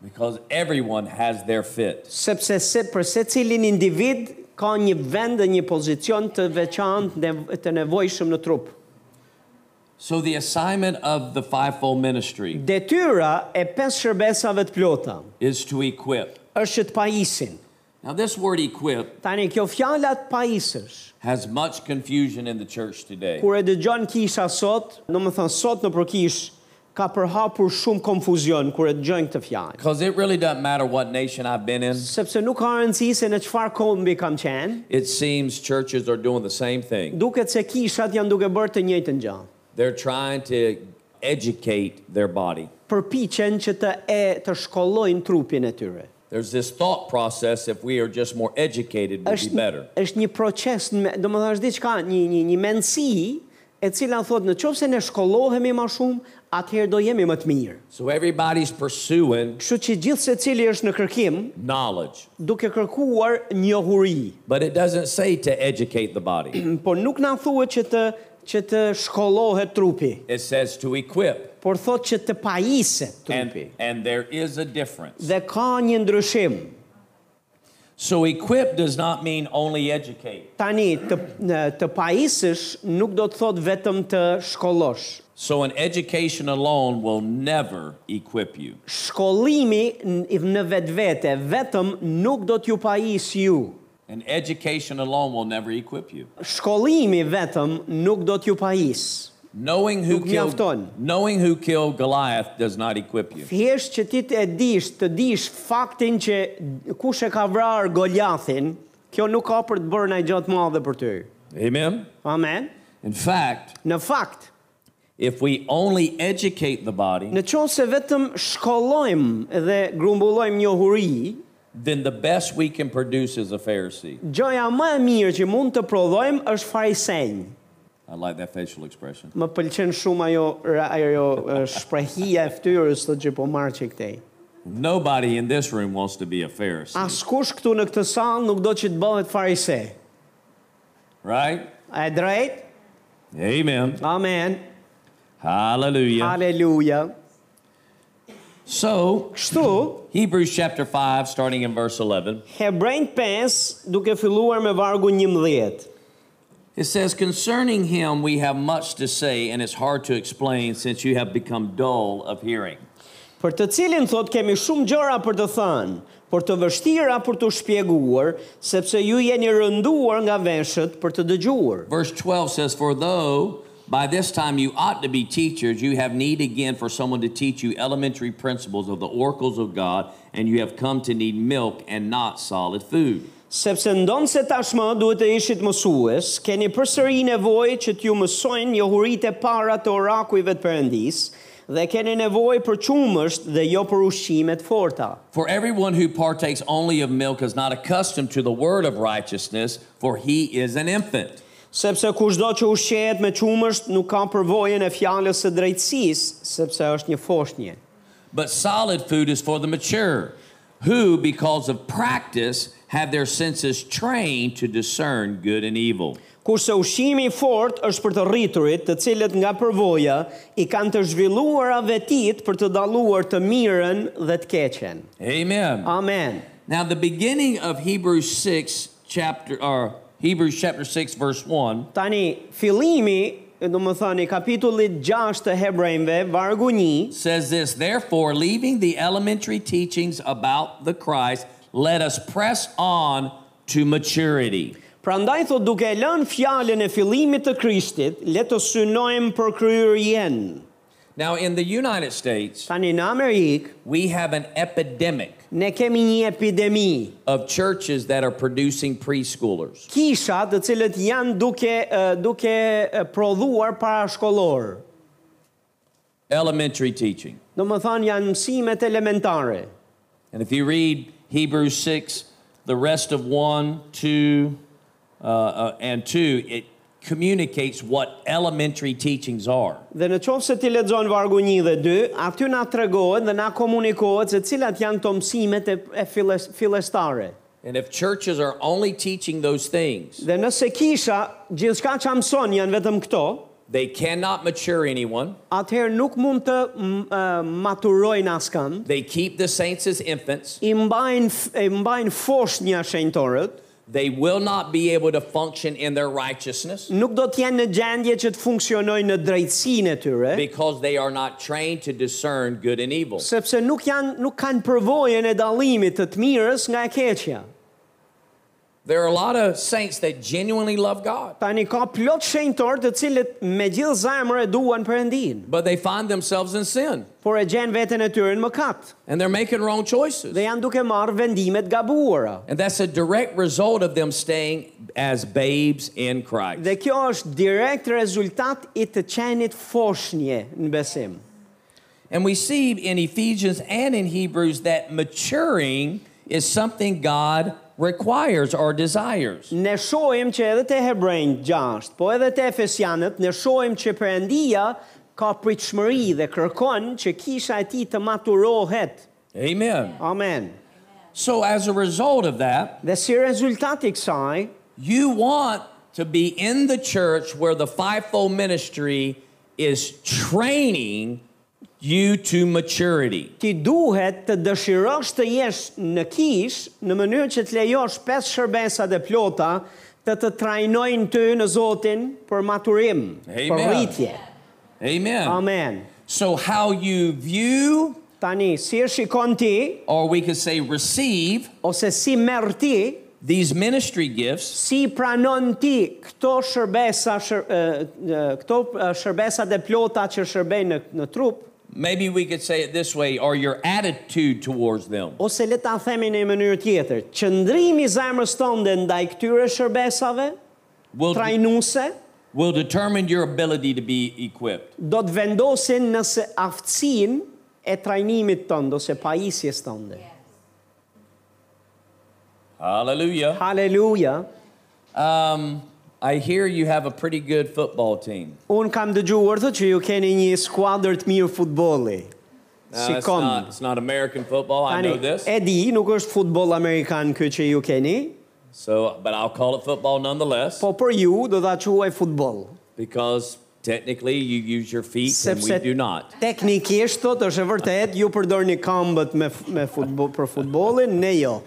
B: because everyone has their fit.
A: sepse se për se cilin individ ka një vend dhe një pozicion të veçantë dhe të nevojshëm në trup.
B: So the assignment of the fivefold ministry
A: Detyra e pesë shërbesave të plota
B: is to equip.
A: është që të pajisin.
B: Now this word equip
A: Tani kjo fjala të pajisësh,
B: has much confusion in the church today.
A: kur e dëgjon kisha sot, në më thënë sot në përkish, ka përhapur shumë konfuzion kur e dëgjojnë këtë fjalë.
B: Because it really doesn't matter what nation I've been in.
A: Sepse nuk ka rëndësi se në çfarë kombi kam qenë,
B: It seems churches are doing the same thing.
A: duket se kishat janë duke bërë të njëjtën gjë.
B: They're trying to educate their body.
A: përpiqen që të e të shkollojnë trupin e tyre.
B: There's this thought process if we are just more educated, we'll be better.
A: është një proces, në me- do më thënë është diçka, një, një, një mendësi e cila thotë në qovë se ne shkollohemi ma shumë, atëherë do jemi më të mirë.
B: So everybody's pursuing
A: Kështu që gjithë se cili është në kërkim,
B: knowledge,
A: duke kërkuar njohuri,
B: but it doesn't say to educate the body.
A: por nuk na thuhet që të që të shkollohet trupi,
B: It says to equip,
A: por thotë që të pajiset trupi.
B: and, and there is a difference.
A: Dhe ka një ndryshim.
B: So equip does not mean only educate.
A: Tani, të, në- të pajisësh nuk do të thotë vetëm të shkollosh,
B: So an education alone will never equip you.
A: shkollimi n- në vetë vete, vetëm nuk do t'ju pajis ju.
B: An education alone will never equip you.
A: Shkollimi vetëm nuk do t'ju pajis.
B: Knowing who
A: Nuk mjafton.
B: killed, knowing who killed Goliath does not equip you.
A: Thjesht që ti të e dish, të dish faktin që kush e ka vrarë Goliathin, kjo nuk ka për të bërë ndaj gjë të madhe për ty.
B: Amen.
A: Amen.
B: In fact,
A: Në fakt,
B: If we only educate the body,
A: Në qovë se vetëm shkollojmë dhe grumbullojmë njohuri,
B: then the best we can produce is a Pharisee.
A: gjoja më e mirë që mund të prodhojmë është farisenj.
B: I like that facial expression.
A: Më pëlqen shumë ajo, ajo eh, shprehia e ftyrës të që po marrë që këtej.
B: Nobody in this room wants to be a
A: Ah.
B: Pharisee,
A: Askush këtu në këtë salë nuk do që të bëhet farise.
B: right?
A: A e drejt?
B: Amen.
A: Amen.
B: Hallelujah.
A: Aleluja.
B: So,
A: Kështu,
B: Hebrews chapter 5, starting in verse 11,
A: Hebrejnë 5 duke filluar me vargu 11.
B: it says, Concerning him we have much to say, and it's hard to explain since you have become dull of hearing.
A: Për të cilin thot kemi shumë gjëra për të thënë, por të vështira për të shpjeguar, sepse ju jeni rënduar nga veshët për të dëgjuar.
B: Verse 12 says, For though by this time you ought to be teachers, you have need again for someone to teach you elementary principles of the oracles of God, and you have come to need milk and not solid food.
A: Sepse ndonë se tashmë duhet të ishit mësues, keni përsëri nevojë që t'ju mësojnë njohuritë e para të orakujve të Perëndis dhe keni nevojë për qumësht dhe jo për ushqime të forta.
B: For everyone who partakes only of milk is not accustomed to the word of righteousness, for he is an infant.
A: Sepse kushdo që ushqehet me qumësht nuk ka përvojën e fjalës së drejtësisë, sepse është një foshnjë.
B: But solid food is for the mature, who, because of practice, have their senses trained to discern good and evil.
A: kurse ushqimi i fortë është për të rriturit, të cilët nga përvoja i kanë të zhvilluara vetit për të dalluar të mirën dhe të keqen.
B: Amen.
A: Amen.
B: Now, the beginning of Hebrews 6, chapter, or Hebrews chapter 6, verse 1,
A: Tani fillimi, do më thani, kapitullit 6 të Hebrejve, vargu 1,
B: says this Therefore, leaving the elementary teachings about the Christ, let us press on to maturity.
A: prandaj thot duke e lënë fjalën e fillimit të Krishtit, le të synojmë për kryerjen.
B: Now, in the United States,
A: Tani në Amerikë
B: we have an epidemic
A: ne kemi një epidemi.
B: of churches that are producing preschoolers.
A: Kisha të cilët janë duke eh, duke eh, prodhuar parashkollor.
B: Elementary teaching.
A: Do më thënë janë mësimet elementare.
B: And if you read Hebrews 6, the rest of 1, 2, uh, uh, and 2, it communicates what elementary teachings are.
A: Dhe në qovë se ti lexon vargu 1 dhe 2, aty na tregohet dhe na komunikohet se cilat janë të mësimet e, e filles, fillestare.
B: And if churches are only teaching those things,
A: Dhe nëse kisha gjithçka që mëson janë vetëm këto,
B: they cannot mature anyone.
A: atëherë nuk mund të m, e, maturojnë askënd,
B: They keep the saints as infants.
A: i mbajnë, f- i mbajnë fosh një shenjtorët,
B: They will not be able to function in their righteousness
A: nuk do të janë në gjendje që të funksionojnë në drejtsinë e tyre,
B: because they are not trained to discern good and evil.
A: sepse nuk janë nuk kanë përvojën e dallimit të të mirës nga e keqja.
B: There are a lot of saints that genuinely love God,
A: Tani ka plot shenjtor të cilët me gjithë zemër e duan Perëndin,
B: but they find themselves in sin
A: por e gjen veten e tyre në mëkat
B: and they're making wrong choices.
A: dhe janë duke marrë vendime të gabuara.
B: And that's a direct result of them staying as babes in Christ.
A: Dhe kjo është direkt rezultat i të qenit foshnje në besim.
B: And we see in Ephesians and in Hebrews that maturing is something God requires or desires.
A: Ne shohim që edhe te Hebrejnë 6, po edhe te Efesianët, ne shohim që Perëndia ka pritshmëri dhe kërkon që kisha e tij të maturohet.
B: Amen.
A: Amen.
B: So, as a result of that,
A: Dhe si rezultat i kësaj,
B: you want to be in the church where the fivefold ministry is training you to maturity.
A: ti duhet të dëshirosh të jesh në kish në mënyrë që të lejosh pesë shërbesa dhe plota të të trajnojnë ty në Zotin për maturim, për
B: Amen.
A: rritje.
B: Amen.
A: Amen.
B: So, how you view,
A: Tani, si e shikon ti,
B: or we could say receive,
A: ose si merë ti,
B: these ministry gifts
A: si pranon ti këto shërbesa, shër, e, e, këto e, shërbesa dhe plota që shërbejnë në, në trup,
B: maybe we could say it this way or your attitude towards them
A: ose le ta themi në një mënyrë tjetër, qëndrimi i zemrës tonë dhe ndaj këtyre shërbesave,
B: will,
A: trajnuse,
B: will determine your ability to be equipped.
A: do të vendosin nëse aftësin e trajnimit tënd ose pajisjes tënde.
B: Hallelujah.
A: Haleluja.
B: Um, I hear you have a pretty good football team.
A: Un kam dëgjuar thotë që ju keni një skuadër të mirë futbolli.
B: Now, it's,
A: Shikon.
B: not, it's not American football. I
A: Tani,
B: know this.
A: e di, nuk është futboll amerikan ky që ju keni,
B: So, but I'll call it football nonetheless
A: po për ju do ta quaj futboll.
B: because technically you use your feet and we
A: Sepse
B: do not.
A: teknikisht thotë është e vërtet, ju përdorni këmbët me f- me futboll për futbollin, ne jo.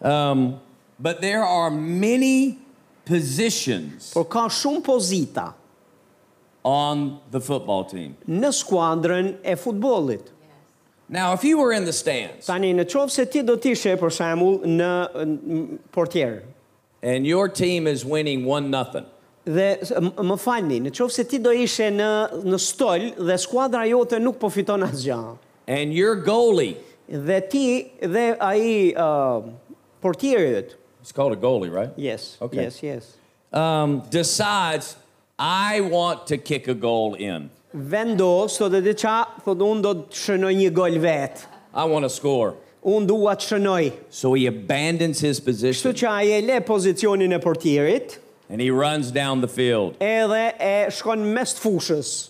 B: Um, but there are many positions
A: Por ka shumë pozita
B: on the football team.
A: në skuadrën e futbollit.
B: Now, if you were in the stands
A: Tani në qovë se ti do t'ishe për shembull në në portier
B: and your team is winning 1 nothing,
A: dhe s- m- më falni, në qovë se ti do ishe në, në stol dhe skuadra jote nuk po fiton asgjë.
B: and your goalie,
A: Dhe ti dhe ai uh, portieri yt.
B: it's called a goalie, right?
A: Yes,
B: Okay.
A: yes, yes.
B: Um, decides, I want to kick a goal in.
A: Vendos, thotë diçka, thotë unë do të shënoj një gol vetë.
B: I want to score.
A: Unë dua të shënoj.
B: So he abandons his
A: Kështu
B: position
A: që ai e le pozicionin e portierit
B: and he runs down the field.
A: edhe e shkon mes të fushës.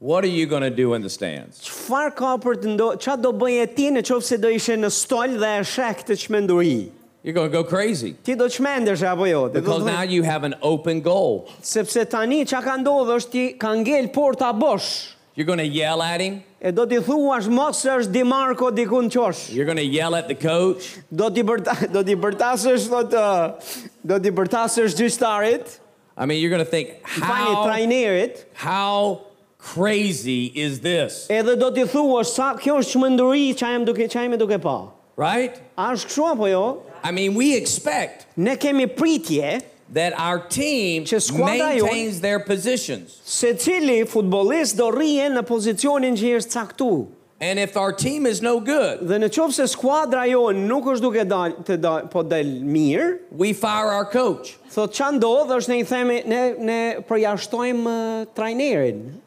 B: What are you going to do in the stands?
A: Çfarë ka për të ndo, çfarë do bëje ti në qoftë se do ishe në stol dhe e sheh këtë çmenduri?
B: You're going to go crazy
A: Ti do çmendesh apo jo? Dhe do
B: because
A: të
B: now you have an open goal.
A: thotë, sepse tani çka ka ndodhur është ti ka ngel porta bosh.
B: You're going to yell at him.
A: E do t'i thuash mos është Di Marco diku në qosh.
B: You're going to yell at the coach.
A: Do t'i bërta, do t'i bërtasësh thotë, do t'i bërtasësh gjyqtarit,
B: I mean, you're going to think,
A: fani
B: how,
A: trajnerit,
B: how crazy is this?
A: edhe do t'i thuash sa kjo është çmenduri që jam duke që jam duke pa.
B: Right?
A: A është kështu apo jo?
B: I mean, we expect
A: Ne kemi pritje
B: that our team
A: Që skuadra jonë-
B: maintains their positions.
A: se cili futbolist do rrije në pozicionin që i është caktu.
B: And if our team is no good,
A: Dhe në qovë se skuadra jonë nuk është duke dal, të dal, po del mirë,
B: we fire our coach.
A: thot që ndodhë është ne i themi, ne, ne përjashtojmë eh, trajnerin.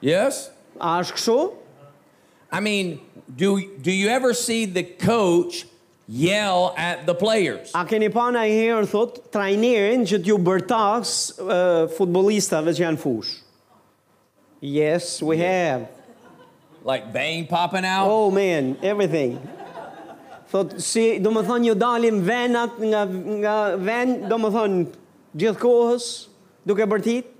B: Yes?
A: A është kështu?
B: I mean, do, do you ever see the coach yell at the players?
A: A keni pa në i herë, thot, trajnerin që t'ju bërtas eh, futbolistave që janë fush? Yes, we have.
B: Like vein popping out?
A: Oh man, everything. Thot si, do më thonë ju dalim venat nga, nga ven, do më thonë gjithë kohës, duke bërtit.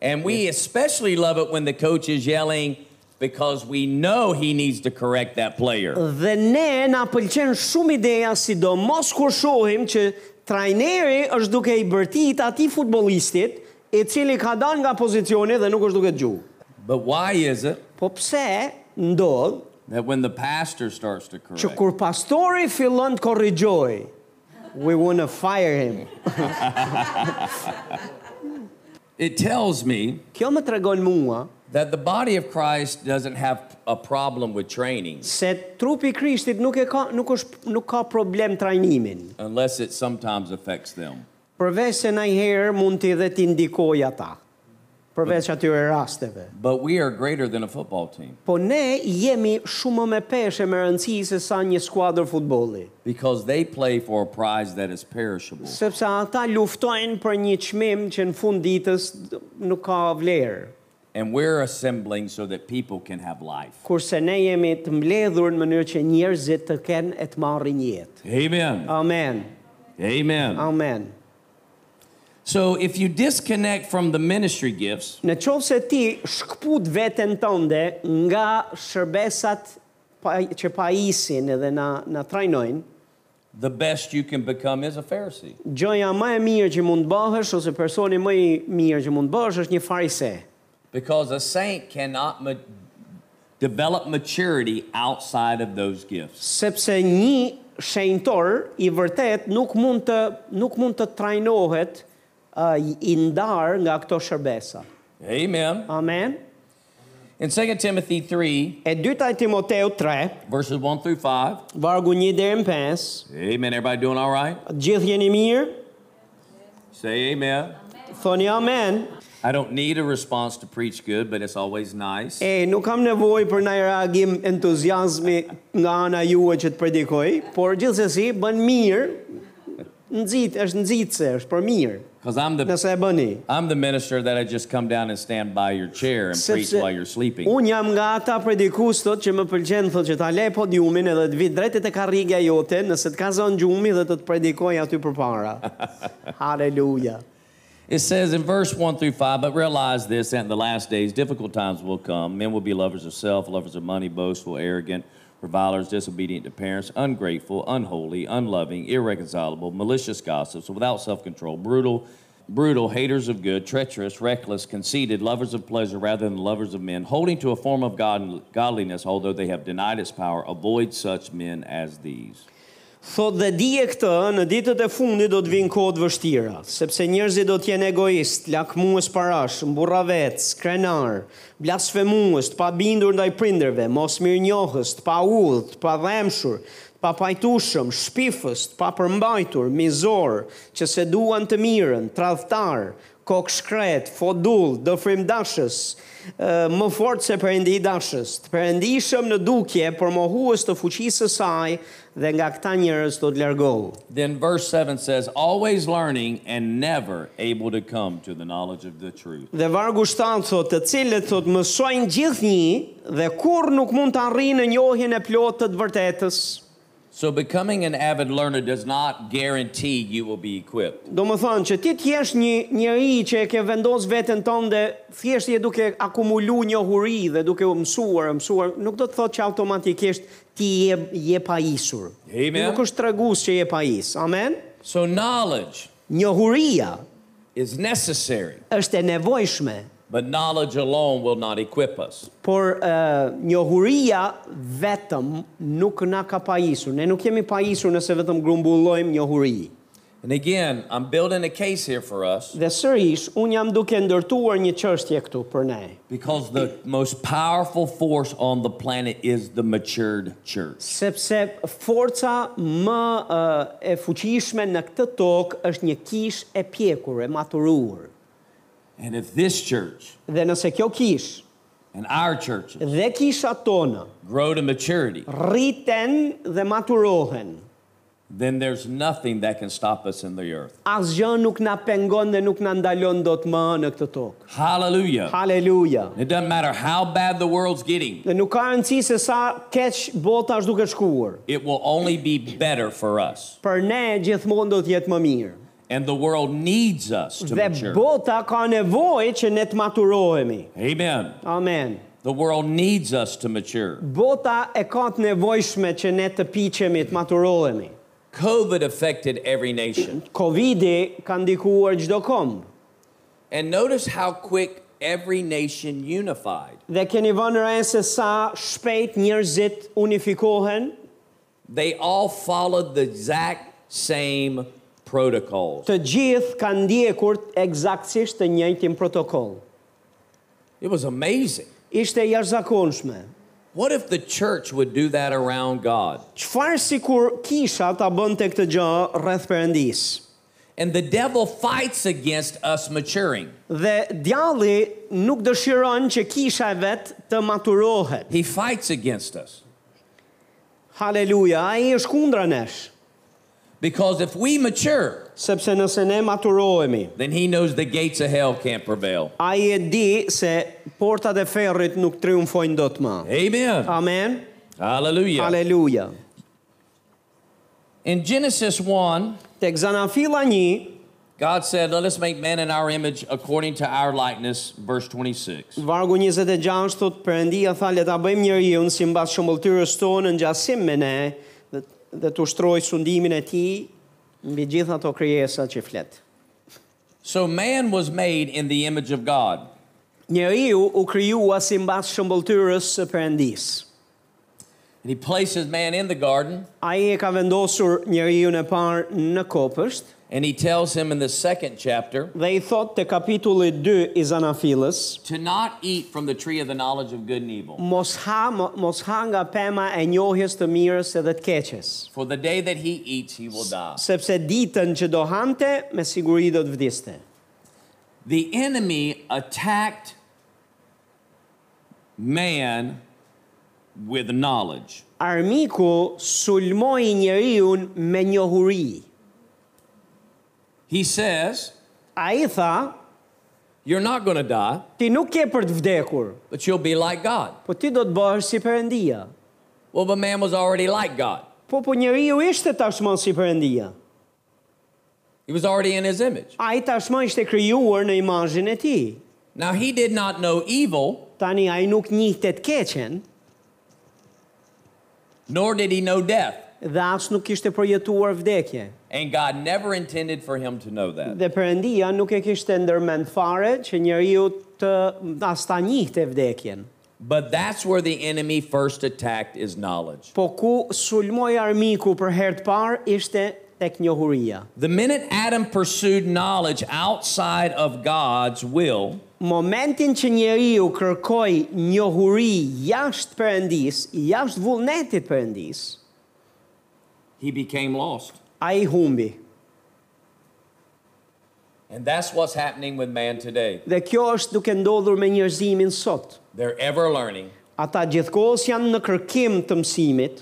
B: And we especially love it when the coach is yelling because we know he needs to correct that player.
A: Dhe ne na pëlqen shumë ideja, sidomos kur shohim që trajneri është duke i bërtit atij futbollistit i cili ka dalë nga pozicioni dhe nuk është duke gju.
B: But why is it
A: Po pse ndodh
B: that when the pastor starts to
A: që
B: correct,
A: kur pastori fillon të korrigjoj, we wanna fire him.
B: it tells me
A: Kjo më tregon mua
B: that the body of Christ doesn't have a problem with training
A: se trupi i Krishtit nuk e ka nuk është nuk ka problem trajnimin.
B: unless it sometimes affects them.
A: Përveç se ndajherë mund ti dhe ti ndikoj ata. Përveç atyre rasteve.
B: But we are greater than a football team
A: Po ne jemi shumë më me peshë me rëndësi se sa një skuadër futbolli,
B: because they play for a prize that is perishable.
A: sepse ata luftojnë për një çmim që në fund ditës d- nuk ka vlerë,
B: And we're assembling so that people can have life.
A: kurse ne jemi të mbledhur në mënyrë që njerëzit të kenë e të marrin jetë.
B: Amen.
A: Amen.
B: Amen.
A: Amen.
B: So if you disconnect from the ministry gifts,
A: Në qovë se ti shkput veten tënde nga shërbesat pa, që pajisin edhe na, na trajnojnë,
B: the best you can become is a Pharisee.
A: gjoja më e mirë që mund bëhesh ose personi më i mirë që mund bëhesh është një farise.
B: Because a saint cannot ma- develop maturity outside of those gifts.
A: Sepse një shenjtor i vërtet nuk mund të, nuk mund të trajnohet uh, i ndarë nga këto shërbesa.
B: Amen.
A: Amen.
B: In 2 Timothy 3,
A: E dyta e Timoteu 3,
B: verses 1 through 5.
A: vargu 1 deri në 5,
B: Amen. Everybody doing all right?
A: gjithë jeni mirë,
B: Say amen.
A: Thoni amen.
B: I don't need a response to preach good, but it's always nice.
A: E, nuk kam nevoj për në reagim entuziasmi nga ana juve që të predikoj, por gjithsesi bën mirë, nxit, është nxitëse, është për mirë,
B: Because I'm the
A: nëse e bëni.
B: I'm the minister that I just come down and stand by your chair and preach
A: Sepse
B: while you're sleeping.
A: Unë jam nga ata predikus thot që më pëlqen thot që ta lej podiumin edhe të vi drejt tek karrigja jote nëse të ka zonë gjumi dhe të të predikoj aty përpara. Haleluja.
B: It says in verse 1 through 5, but realize this that in the last days difficult times will come. Men will be lovers of self, lovers of money, boastful, arrogant, revilers, disobedient to parents, ungrateful, unholy, unloving, irreconcilable, malicious gossips, without self control, brutal, brutal, haters of good, treacherous, reckless, conceited, lovers of pleasure rather than lovers of men, holding to a form of god- godliness, although they have denied its power. Avoid such men as these.
A: Thot dhe dije këtë, në ditët e fundit do të vinë kohë të vështira, sepse njerëzit do të jenë egoist, lakmues parash, mburravec, krenar, blasfemues, të pabindur ndaj prindërve, mos mirënjohës, të paullt, të padhemshur, të papajtueshëm, shpifës, të papërmbajtur, mizor, që se duan të mirën, tradhtar, kokë shkret, fodull, dëfrim dashës, ë, më fort se përëndi dashës, të përëndishëm në dukje, por mohuës të fuqisë së saj, dhe nga këta njerëz do të largohu.
B: Then verse 7 says, always learning and never able to come to the knowledge of the truth.
A: Dhe vargu 7 thot, të cilët thot mësojnë gjithnjë dhe kur nuk mund të arrinë në njohjen e plotë të të vërtetës.
B: So becoming an avid learner does not guarantee you will be equipped.
A: Do më thënë që ti t'jesh një njeri që e ke vendos veten tonë dhe thjesht je duke akumulu njohuri dhe duke u mësuar, mësuar, nuk do të thot që automatikisht ti je, je pa isur.
B: Amen.
A: Nuk është tregus që je pa is. Amen?
B: So knowledge
A: Njohuria
B: is necessary,
A: është e nevojshme.
B: but knowledge alone will not equip us.
A: Por uh, njohuria vetëm nuk na ka pajisur. Ne nuk jemi pajisur nëse vetëm grumbullojmë njohuri.
B: And again, I'm building a case here for us
A: Dhe sërish, unë jam duke ndërtuar një çështje këtu për ne.
B: because the most powerful force on the planet is the matured church.
A: Sepse forca më uh, e fuqishme në këtë tokë është një kish e pjekur, e maturuar.
B: And if this church
A: Dhe nëse kjo kish
B: and our churches
A: dhe kisha tona
B: grow to maturity,
A: rriten dhe maturohen,
B: then there's nothing that can stop us in the earth.
A: asgjë nuk na pengon dhe nuk na ndalon dot më në këtë tokë.
B: Hallelujah.
A: Haleluja.
B: It doesn't matter how bad the world's getting,
A: Dhe nuk ka rëndësi se sa keq bota është duke shkuar.
B: it will only be better for us.
A: Për ne gjithmonë do të jetë më mirë.
B: And the world needs us to
A: Dhe
B: mature.
A: bota ka nevojë që ne të maturohemi.
B: Amen.
A: Amen.
B: The world needs us to mature.
A: Bota e ka të nevojshme që ne të piqemi, të maturohemi.
B: COVID affected every nation.
A: Covidi ka ndikuar çdo kom.
B: And notice how quick every nation unified.
A: Dhe keni vënë re se sa shpejt njerëzit unifikohen,
B: They all followed the exact same protocols.
A: të gjithë kanë ndjekur eksaktësisht të njëjtin protokoll.
B: It was amazing.
A: Ishte jashtëzakonshme.
B: What if the church would do that around God?
A: Qfarë si kur kisha ta bënte këtë gjë rreth përëndis?
B: And the devil fights against us maturing.
A: Dhe djalli nuk dëshiron që kisha e vetë të maturohet.
B: He fights against us.
A: Haleluja, a i është kundra nesh,
B: Because if we mature,
A: sepse nëse ne maturohemi,
B: then he knows the gates of hell can't prevail.
A: a i e di se portat e ferrit nuk triumfojnë do të ma.
B: Amen.
A: Amen,
B: Hallelujah.
A: haleluja.
B: In Genesis 1,
A: Tek zanafila një,
B: God said, Let us make man in our image according to our likeness, verse 26.
A: vargu 26, thot përëndia tha le ta bëjmë njëri unë si mbas shumëllëtyrës tonë në gjasim me ne dhe, dhe të ushtroj sundimin e ti mbi gjitha ato kryesa që fletë.
B: So man was made in the image of God.
A: Njeriu u kryua si mbas shëmbëltyrës së përëndis.
B: And he places man in the garden,
A: A i e ka vendosur njeriu në parë në kopësht
B: and he tells him in the second chapter
A: dhe i thot të kapitulli 2 i zanafilës,
B: to not eat from the tree of the knowledge of good and evil.
A: mos ha, mo- mos ha nga pema e njohjes të mirës edhe të keqes,
B: For the day that he eats, he will die.
A: sepse ditën që do hante, me siguri do të vdiste.
B: the enemy attacked man with knowledge.
A: Armiku sulmoi njeriu me njohuri.
B: He says,
A: Ai tha,
B: You're not going to die,
A: ti nuk ke për të vdekur,
B: but you'll be like God.
A: po ti do të bëhesh si Perëndia.
B: Well, but man was already like God,
A: Po po njeriu ishte tashmë si Perëndia.
B: he was already in his image.
A: Ai tashmë ishte krijuar në imazhin e tij.
B: Now, he did not know evil,
A: Tani ai nuk njihte të keqen
B: nor did he know death.
A: dhe as nuk kishte përjetuar vdekje.
B: And God never intended for him to know that.
A: Dhe Perëndia nuk e kishte ndërmend fare që njeriu të as ta njihte vdekjen.
B: But that's where the enemy first attacked is knowledge.
A: Po ku sulmoi armiku për herë të parë ishte tek njohuria.
B: The minute Adam pursued knowledge outside of God's will,
A: Momentin që njeriu kërkoi njohuri jashtë Perëndis, jashtë vullnetit Perëndis,
B: he became lost.
A: ai humbi.
B: And that's what's happening with man today.
A: Dhe kjo është duke ndodhur me njerëzimin sot.
B: They're ever learning
A: Ata gjithkohës janë në kërkim të mësimit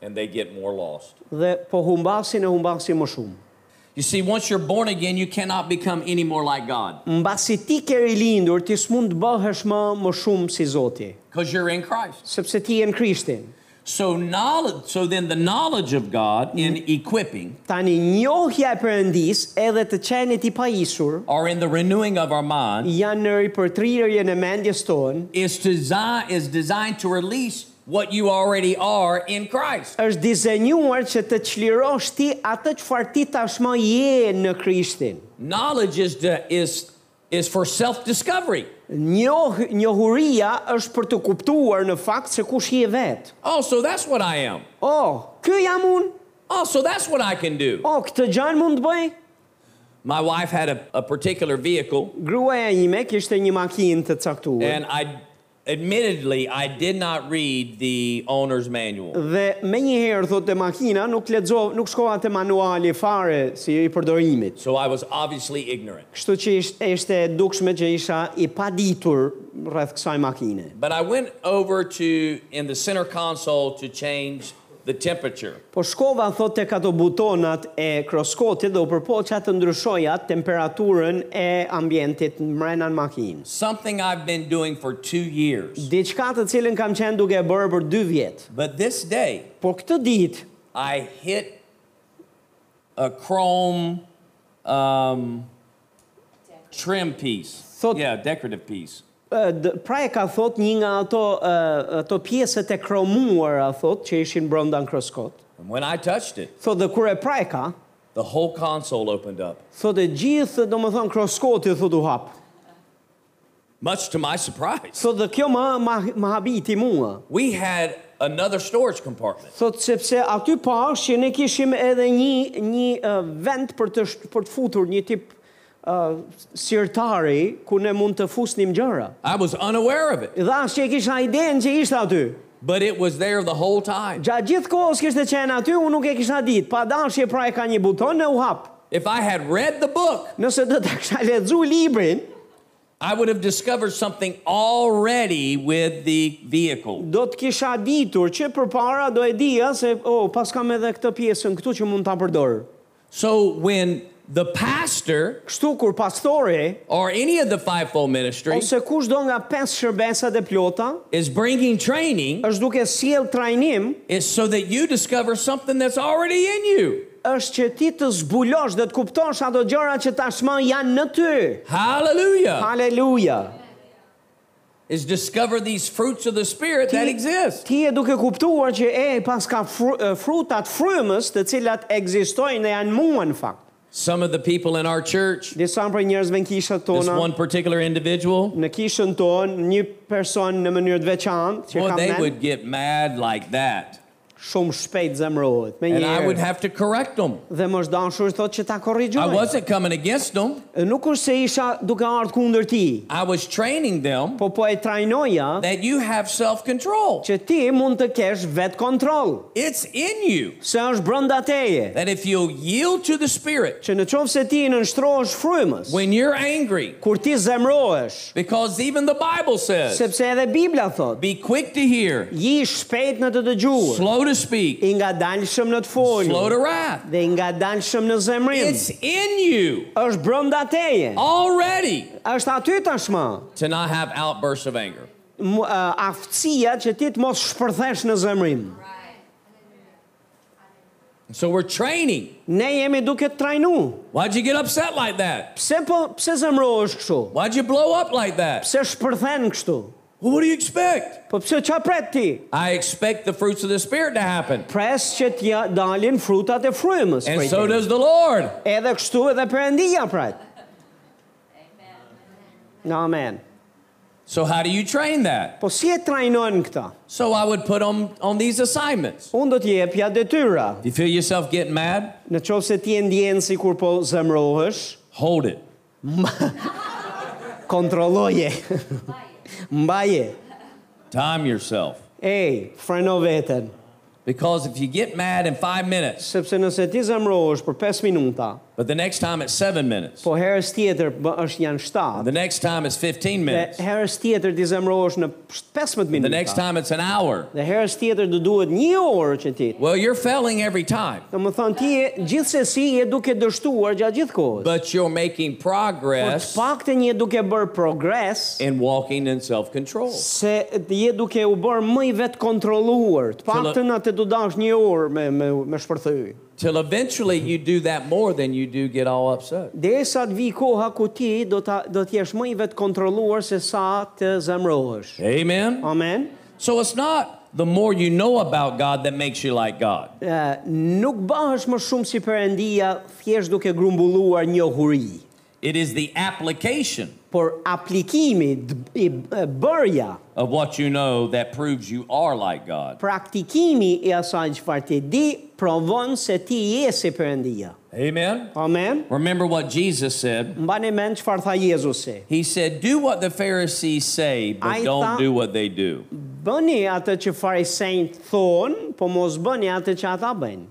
B: and they get more lost.
A: dhe po humbasin e humbasin më shumë.
B: You see, once you're born again, you cannot become any more like God
A: Mbasi ti ke rilindur, ti s'mund të bëhesh më më shumë si Zoti,
B: because you're in Christ.
A: sepse ti je në Krishtin.
B: So knowledge, so then the knowledge of God in equipping
A: Tani njohja e Perëndis edhe të qenit i pajisur
B: or in the renewing of our mind
A: janë në ripërtrirjen e mendjes tonë,
B: is designed is designed to release what you already are in Christ.
A: është dizenjuar që të çlirosh ti atë çfarë ti tashmë je në Krishtin.
B: Knowledge is to, is is for self-discovery.
A: Njoh, njohuria është për të kuptuar në fakt se kush je vetë.
B: Oh, so that's what I am.
A: O, oh, ky jam unë.
B: Oh, so that's what I can do.
A: O, oh, këtë gjan mund të bëj.
B: My wife had a, a particular vehicle
A: Gruaja ime kishte një makinë të caktuar.
B: And I, admittedly, I did not read the owner's manual.
A: Dhe me një herë thotë makina nuk lexo, nuk shkova te manuali fare si i përdorimit.
B: So I was obviously ignorant.
A: Kështu që ishte, ishte e dukshme që isha i paditur rreth kësaj makine.
B: But I went over to, in the center console, to change the temperature.
A: Po shkova thot tek ato butonat e kroskotit dhe u përpoqa të ndryshoja temperaturën e ambientit mrena në makinë.
B: Something I've been doing for two years.
A: Diçka të cilën kam qenë duke e bërë për 2 vjet.
B: But this day,
A: Por këtë ditë
B: I hit a chrome um, trim piece.
A: So-
B: yeah, decorative piece.
A: ë, d- pra e ka thot një nga ato ë, ato pjesët e kromuara thot që ishin brenda në kroskot.
B: And when I touched it,
A: Thot dhe kur e prajka,
B: the whole console opened up,
A: thot e gjithë do më thonë kroskoti thot u hap.
B: much to my surprise.
A: Thot dhe kjo më, më, më habiti mua.
B: we had another storage compartment.
A: Thot sepse aty pash që ne kishim edhe një një uh, vend për të sh- për të futur një tip uh, sirtari ku ne mund të fusnim gjëra.
B: I was unaware of it,
A: Dhe as që e kisha idenë që ishte aty.
B: but it was there the whole time.
A: Gjatë gjithë kohës kishte qenë aty, unë nuk e kisha ditë. Pa dashje pra e ka një buton e u hap.
B: If I had read the book,
A: Nëse do ta kisha lexu librin,
B: I would have discovered something already with the vehicle.
A: do të kisha ditur që përpara do e dija se oh, pas kam edhe këtë pjesën këtu që mund ta përdor.
B: So when the pastor
A: Kështu kur pastori
B: or any of the fivefold ministry
A: ose kush do nga pesë shërbesat e plota,
B: is bringing training,
A: është duke sjell trajnim,
B: it's so that you discover something that's already in you.
A: është që ti të zbulosh dhe të kuptosh ato gjëra që tashmë janë në ty.
B: Hallelujah.
A: Haleluja.
B: Is discover these fruits of the Spirit that exist.
A: Ti e duke kuptuar që e pas ka fru, e, frutat frymës të cilat ekzistojnë dhe janë mua në fakt.
B: Some of the people in our church,
A: Disa për njerëzve në kishat
B: this
A: tona,
B: one particular individual,
A: në kishën tonë, një person në mënyrë të veçantë që
B: Boy,
A: kam
B: they
A: men,
B: would get mad like that.
A: shumë shpejt zemrohet. Me
B: and
A: një
B: I would
A: herë
B: have to correct them.
A: dhe më është dashur thotë që ta
B: I
A: korrigjoj.
B: wasn't coming against them.
A: Nuk është se isha duke ardhur kundër ti,
B: I was training them
A: po po e trajnoja
B: that you have self-control.
A: që ti mund të kesh vetë kontroll,
B: It's in you
A: se është brenda teje.
B: that if you'll yield to the Spirit
A: Që në qovë se ti në nështrosh frymës,
B: when you're angry,
A: kur ti zemrohesh,
B: because even the Bible says,
A: sepse edhe Biblia thot,
B: be quick to hear,
A: ji shpejt në të dëgjuar,
B: slow to speak,
A: i nga dalshëm në të
B: slow
A: folur,
B: to wrath.
A: dhe i nga dalshëm në zemrim,
B: It's in you
A: është brënda teje,
B: already
A: është aty tashma,
B: to not have outbursts of anger.
A: mu- ë, aftësia që ti të mos shpërthesh në zemrim.
B: So we're training.
A: Ne jemi duke të trajnu,
B: Why'd you get upset like that?
A: pse, po, pse zemrohesh kështu,
B: Why'd you blow up like that?
A: pse shpërthen kështu,
B: Well, what do you expect?
A: po pse qa pret ti?
B: I expect the fruits of the Spirit to happen.
A: Pres që t'ja dalin frutat e frymës.
B: And
A: prej
B: so
A: teje.
B: does the Lord.
A: Edhe kështu edhe përëndia prat. Nga amen.
B: So how do you train that?
A: Po si e trajnojnë këta?
B: So I would put them on these assignments.
A: Unë do t'jepja detyra.
B: You feel yourself getting mad?
A: Në qovë se ti e ndjenë si kur po zemrohesh,
B: Hold it.
A: kontrolloje. Mbaje.
B: Time yourself.
A: Ej, freno veten.
B: Because if you get mad in five minutes,
A: Sepse nëse ti zemrohesh për 5 minuta,
B: but the next time it's seven minutes,
A: po herës tjetër bë- është janë 7,
B: the next time it's
A: dhe
B: 15 minutes,
A: herës tjetër ti zemrohesh në 15
B: the next
A: minuta,
B: time it's an hour,
A: dhe herës tjetër do duhet një orë që ti.
B: well, you're failing every time.
A: Në më thënë, ti e, gjithsesi je duke dështuar gjatë gjithë kohës.
B: But you're making
A: Por të
B: progress
A: pak të një duke bërë progres,
B: in walking in self control.
A: se të je duke u bërë më i vetë kontroluar, të pak të në të du dash një orë me, me, me shpërthy.
B: Till eventually you do that more than you do get all upset.
A: Dhe e sa të vi koha ku ti do të, do të jesh më i vetë kontroluar se sa të zemrohesh.
B: Amen.
A: Amen.
B: So it's not the more you know about God that makes you like God.
A: E, nuk bëhesh më shumë si përëndia thjesht duke grumbulluar një huri,
B: It is the application
A: por aplikimi, d- i, e, bërja,
B: of what you know that proves you are like God.
A: praktikimi i asaj çfarë ti di provon se ti je si Perëndia.
B: Amen.
A: Amen.
B: Remember what Jesus said.
A: Mbani mend çfarë tha Jezusi.
B: He said, Do what the Pharisees say, but
A: I
B: don't
A: thought-
B: do what they do.
A: Bëni atë që farisejt thonë, po mos bëni atë që ata bëjnë.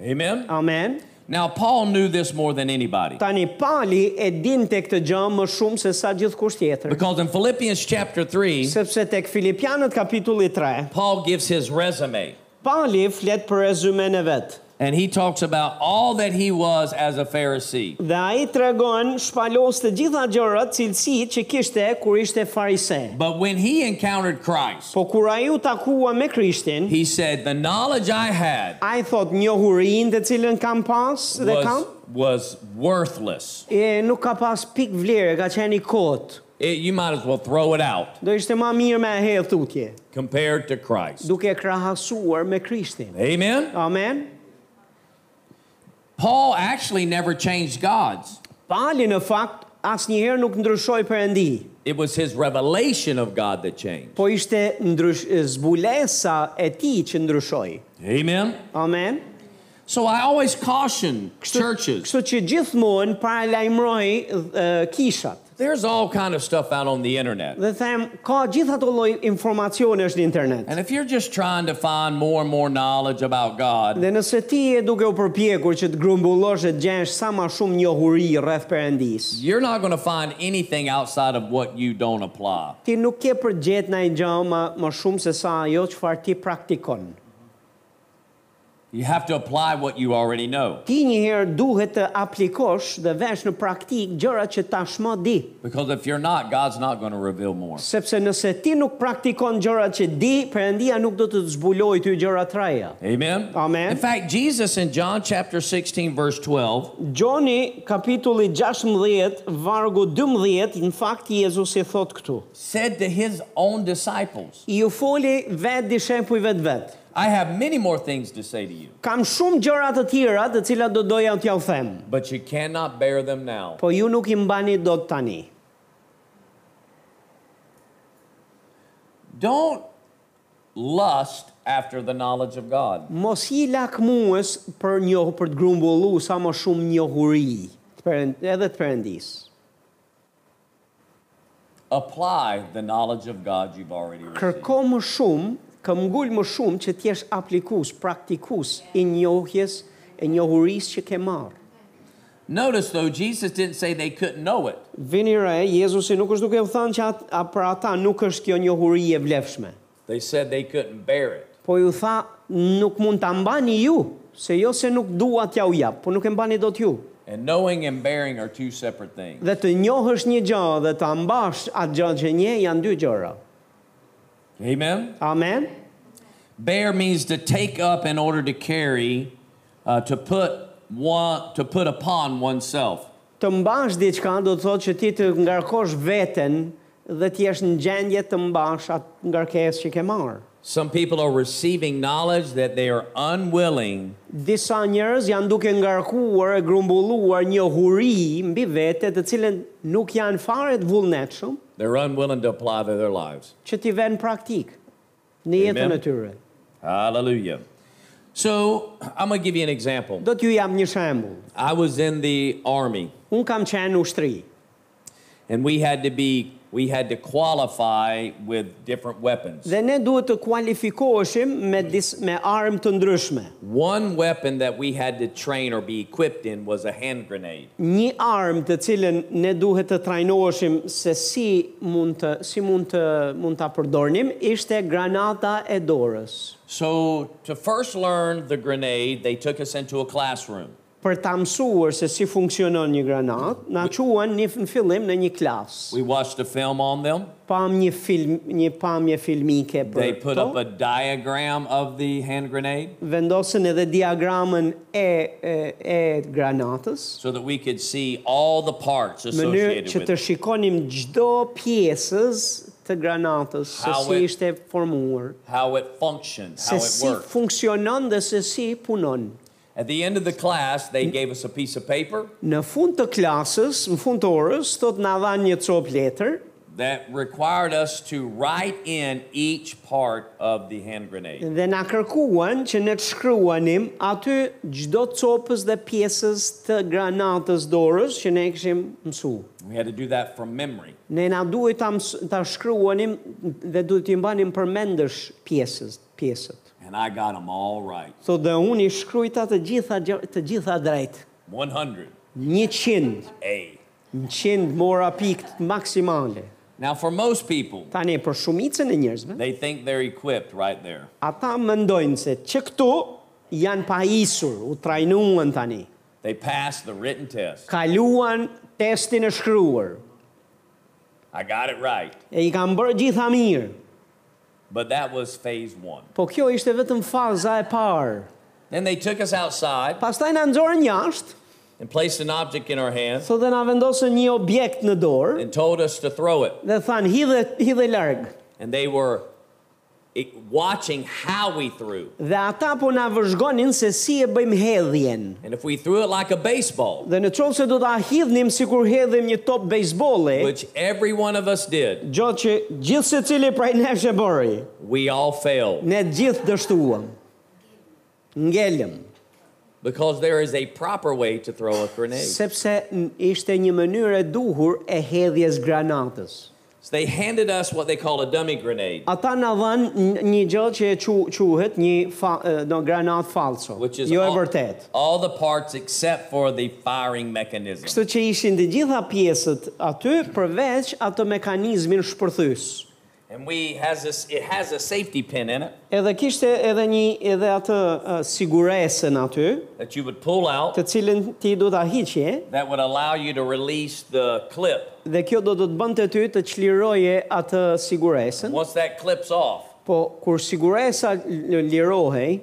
B: Amen.
A: Amen.
B: Now, Paul knew this more than anybody
A: Tani Pali e dinte këtë gjë më shumë se sa gjithkusht tjetër.
B: because in Philippians chapter 3,
A: Sepse tek Filipianët kapitulli 3,
B: Paul gives his resume
A: Pali flet për rezumen e vet.
B: and he talks about all that he was as a Pharisee.
A: Dhe ai tregon shpalos të gjitha gjërat, cilësitë që kishte kur ishte farise.
B: But when he encountered Christ,
A: Po kur ai u takua me Krishtin,
B: he said, The knowledge I had
A: A i thot njohurin të cilën kam pas dhe kam?
B: was, was worthless.
A: E nuk ka pas pik vlerë, ka qenë i kotë.
B: It, you might as well throw it out
A: Do ishte ma mirë me e hedhë tutje,
B: compared to Christ.
A: duke krahasuar me Krishtin.
B: Amen.
A: Amen?
B: Paul actually never changed God's.
A: Pali në fakt, asë njëherë nuk ndryshoj për endi,
B: It was his revelation of God that changed.
A: po ishte ndrysh, zbulesa e ti që ndryshoj.
B: Amen.
A: Amen?
B: So I always caution churches.
A: Kështu që gjithmonë para lajmëroj eh, kishat.
B: There's all kind of stuff out on the internet.
A: Dhe them, ka gjitha të loj informacione është në internet.
B: And if you're just trying to find more and more knowledge about God,
A: Dhe nëse ti je duke u përpjekur që të grumbullosh e të gjesh sa ma shumë njohuri rreth Perëndis,
B: you're not going to find anything outside of what you don't apply.
A: ti nuk ke përgjet në i gjë ma, ma shumë se sa ajo çfarë ti praktikon.
B: You have to apply what you already know
A: Ti njëherë duhet të aplikosh dhe vesh në praktik gjërat që tashmë di,
B: because if you're not, God's not going to reveal more.
A: sepse nëse ti nuk praktikon gjërat që di, Perëndia nuk do të të zbuloj ty gjëra të reja.
B: Amen.
A: Amen.
B: In fact, Jesus in John chapter 16 verse 12,
A: Gjoni kapitulli 16, vargu 12, në fakt Jezusi thot këtu.
B: said to his own disciples,
A: I u foli vetë dishepujve të vetë.
B: "I have many more things to say to you,
A: Kam shumë gjëra të tjera të cilat do doja t'ja u them,
B: but you cannot bear them now."
A: po ju nuk i mbani dot tani.
B: Don't lust after the knowledge of God.
A: Mos i lakmues për njoh për të grumbullu sa më shumë njohuri të përën- edhe të perëndis.
B: Apply the knowledge of God you've already received.
A: Kërko më shumë, këmgull më shumë që të jesh aplikus, praktikus i njohjes e njohurisë që ke marrë.
B: Notice though, Jesus didn't say they couldn't know it.
A: Vini re, Jezusi nuk është duke u thënë që at, a, për ata nuk është kjo njohuri e vlefshme.
B: They said they couldn't bear it.
A: Po ju tha, nuk mund ta mbani ju, se jo se nuk dua t'ja u jap, po nuk e mbani dot ju.
B: And knowing and bearing are two separate things.
A: Dhe të njohësh një gjë dhe ta mbash atë gjë që nje janë dy gjëra.
B: Amen?
A: Amen.
B: Bear means to take up in order to carry, uh, to put one, to put upon oneself.
A: Të mbash diçka do të thotë që ti të ngarkosh veten dhe të jesh në gjendje të mbash atë ngarkesë që ke marrë.
B: Some people are receiving knowledge that they are unwilling
A: Disa njerëz janë duke ngarkuar e grumbulluar një huri mbi vete të cilën nuk janë fare të vullnetshëm
B: They're unwilling to apply to their lives.
A: që t'i vënë praktik në jetën e
B: Amen.
A: tyre.
B: Hallelujah. So I'm gonna give you an example.
A: Do t'ju jam një shembull.
B: I was in the army,
A: Un kam qenë në ushtri
B: and we had to be we had to qualify with different weapons.
A: dhe ne duhet të kualifikoheshim me dis, me armë të ndryshme.
B: One weapon that we had to train or be equipped in was a hand grenade.
A: Një armë të cilën ne duhet të trajnoheshim se si mund të si mund të mund ta përdornim ishte granata e dorës.
B: So to first learn the grenade, they took us into a classroom.
A: Për ta mësuar se si funksionon një granat, na quan një në fillim në një klasë.
B: We watched a film on them.
A: Pam një film, një pamje filmike
B: They
A: për
B: put up a diagram of the hand grenade
A: vendosën edhe diagramën e e, e granatës.
B: so that we could see all the parts
A: mënyrë
B: associated
A: që
B: with
A: të
B: it.
A: shikonim çdo pjesës të granatës se
B: How
A: si
B: it-
A: ishte formuar,
B: how it functions, how
A: se
B: it
A: si
B: works.
A: funksionon dhe se si punon.
B: At the end of the class, they gave us a piece of paper
A: Në fund të klasës, në fund të orës, thot na dhanë një copë letër
B: that required us to write in each part of the hand grenade.
A: dhe na kërkuan që ne të shkruanim aty çdo copës dhe pjesës të granatës dorës që ne kishim mësuar.
B: We had to do that from memory.
A: Ne na duhet ta, mës- ta shkruanim dhe duhet t'i mbanim përmendësh pjesës, pjesët.
B: And I got them all right.
A: Thot dhe unë i shkrujta të gjitha, gjë- të gjitha drejt.
B: 100
A: Një qind,
B: A.
A: një qind mora pikë maksimale.
B: Now, for most people,
A: Tani, për shumicën e njerëzve,
B: they think they're equipped right there.
A: ata mendojnë se që këtu janë pa isur, u trajnuan tani.
B: They pass the written test.
A: Kaluan testin e shkruar,
B: I got it right.
A: e i kam bërë gjitha mirë.
B: But that was phase one.
A: Po kjo ishte vetëm faza e parë.
B: Then they took us outside
A: Pastaj na nxorën jashtë,
B: and placed an object in our hands
A: thotë dhe na vendosën një objekt në dorë
B: and told us to throw it.
A: dhe thanë hidhe hidhe larg.
B: And they were eh, watching how we threw.
A: Dhe ata po na vëzhgonin se si e bëjmë hedhjen.
B: And if we threw it like a baseball,
A: Dhe në qovë se do të ahidhnim si kur hedhim një top bejsbole,
B: which every one of us did,
A: gjo që gjithë se cili prej nesh e bëri,
B: we all failed
A: ne gjithë dështuam, ngelëm,
B: because there is a proper way to throw a grenade. So
A: sepse n- ishte një mënyrë e duhur e hedhjes granatës.
B: they handed us what they call a dummy grenade,
A: Ata në dhanë n- një gjo që e qu- quhet një fa, e, no, granat falso,
B: which is
A: jo e
B: all,
A: vërtet.
B: all the parts except for the firing mechanism.
A: Kështu që ishin të gjitha pjesët aty përveç ato mekanizmin shpërthys.
B: And we has this it has a safety pin in it
A: Edhe kishte edhe një edhe atë e, siguresën aty,
B: that you would pull out
A: të cilën ti do ta hiqje
B: that would allow you to release the clip.
A: dhe kjo do të të bënte ty të çliroje atë siguresën.
B: Once that clips off,
A: Po kur siguresa l- lirohej,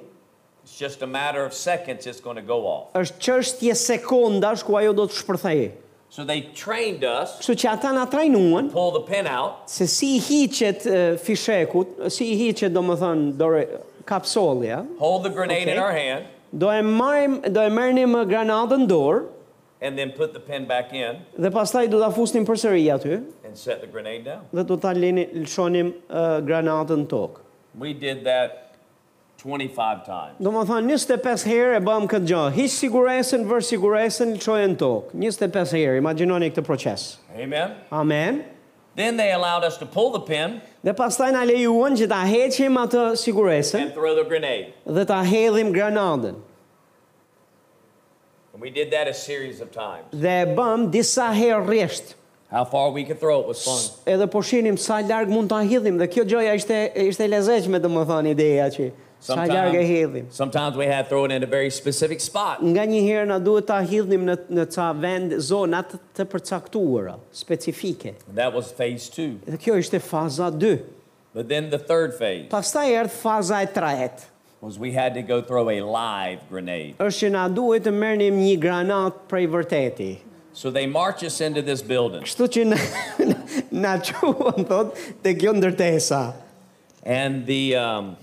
B: it's just a matter of seconds it's going to go off.
A: është çështje sekondash ku ajo do të shpërthejë.
B: So they trained us
A: Kështu që ata na trajnuan
B: pull the pin out
A: se si i hiqet e, fishekut, si i hiqet domethënë dore kapsollja,
B: hold the grenade
A: Okay.
B: in our hand,
A: do e marrim do e merrnim e, granatën dorë
B: and then put the pin back in
A: dhe pastaj do ta fusnim përsëri aty
B: and set the grenade down.
A: dhe do ta lini lëshonim e, granatën në tokë.
B: We did that 25 times.
A: Do më thonë, 25 herë e bëm këtë gjë. Hiq siguresën, vër siguresën, lëshojë në tokë. 25 herë, imaginoni këtë proces.
B: Amen.
A: Amen.
B: Then they allowed us to pull the pin
A: Dhe pastaj na lejuan që ta heqim atë siguresën
B: and throw the grenade.
A: dhe ta hedhim granadën.
B: And we did that a series of times.
A: Dhe e bëm disa herë rresht.
B: How far we could throw it was fun.
A: Edhe po shinim sa larg mund ta hedhim dhe kjo gjëja ishte ishte e lezetshme domethënë ideja që sa larg e hedhim.
B: sometimes we had to throw it in a very specific spot.
A: Nga një herë na duhet ta hidhnim në në ca vend zona të, të përcaktuara, specifike.
B: And that was phase two.
A: Dhe kjo ishte faza 2.
B: But then the third phase
A: Pastaj erdhi faza e tretë.
B: was we had to go throw a live grenade.
A: Është që na duhet të merrnim një granat prej vërteti.
B: So they march us into this building.
A: Kështu që na na quan thot te kjo ndërtesa.
B: And the, um,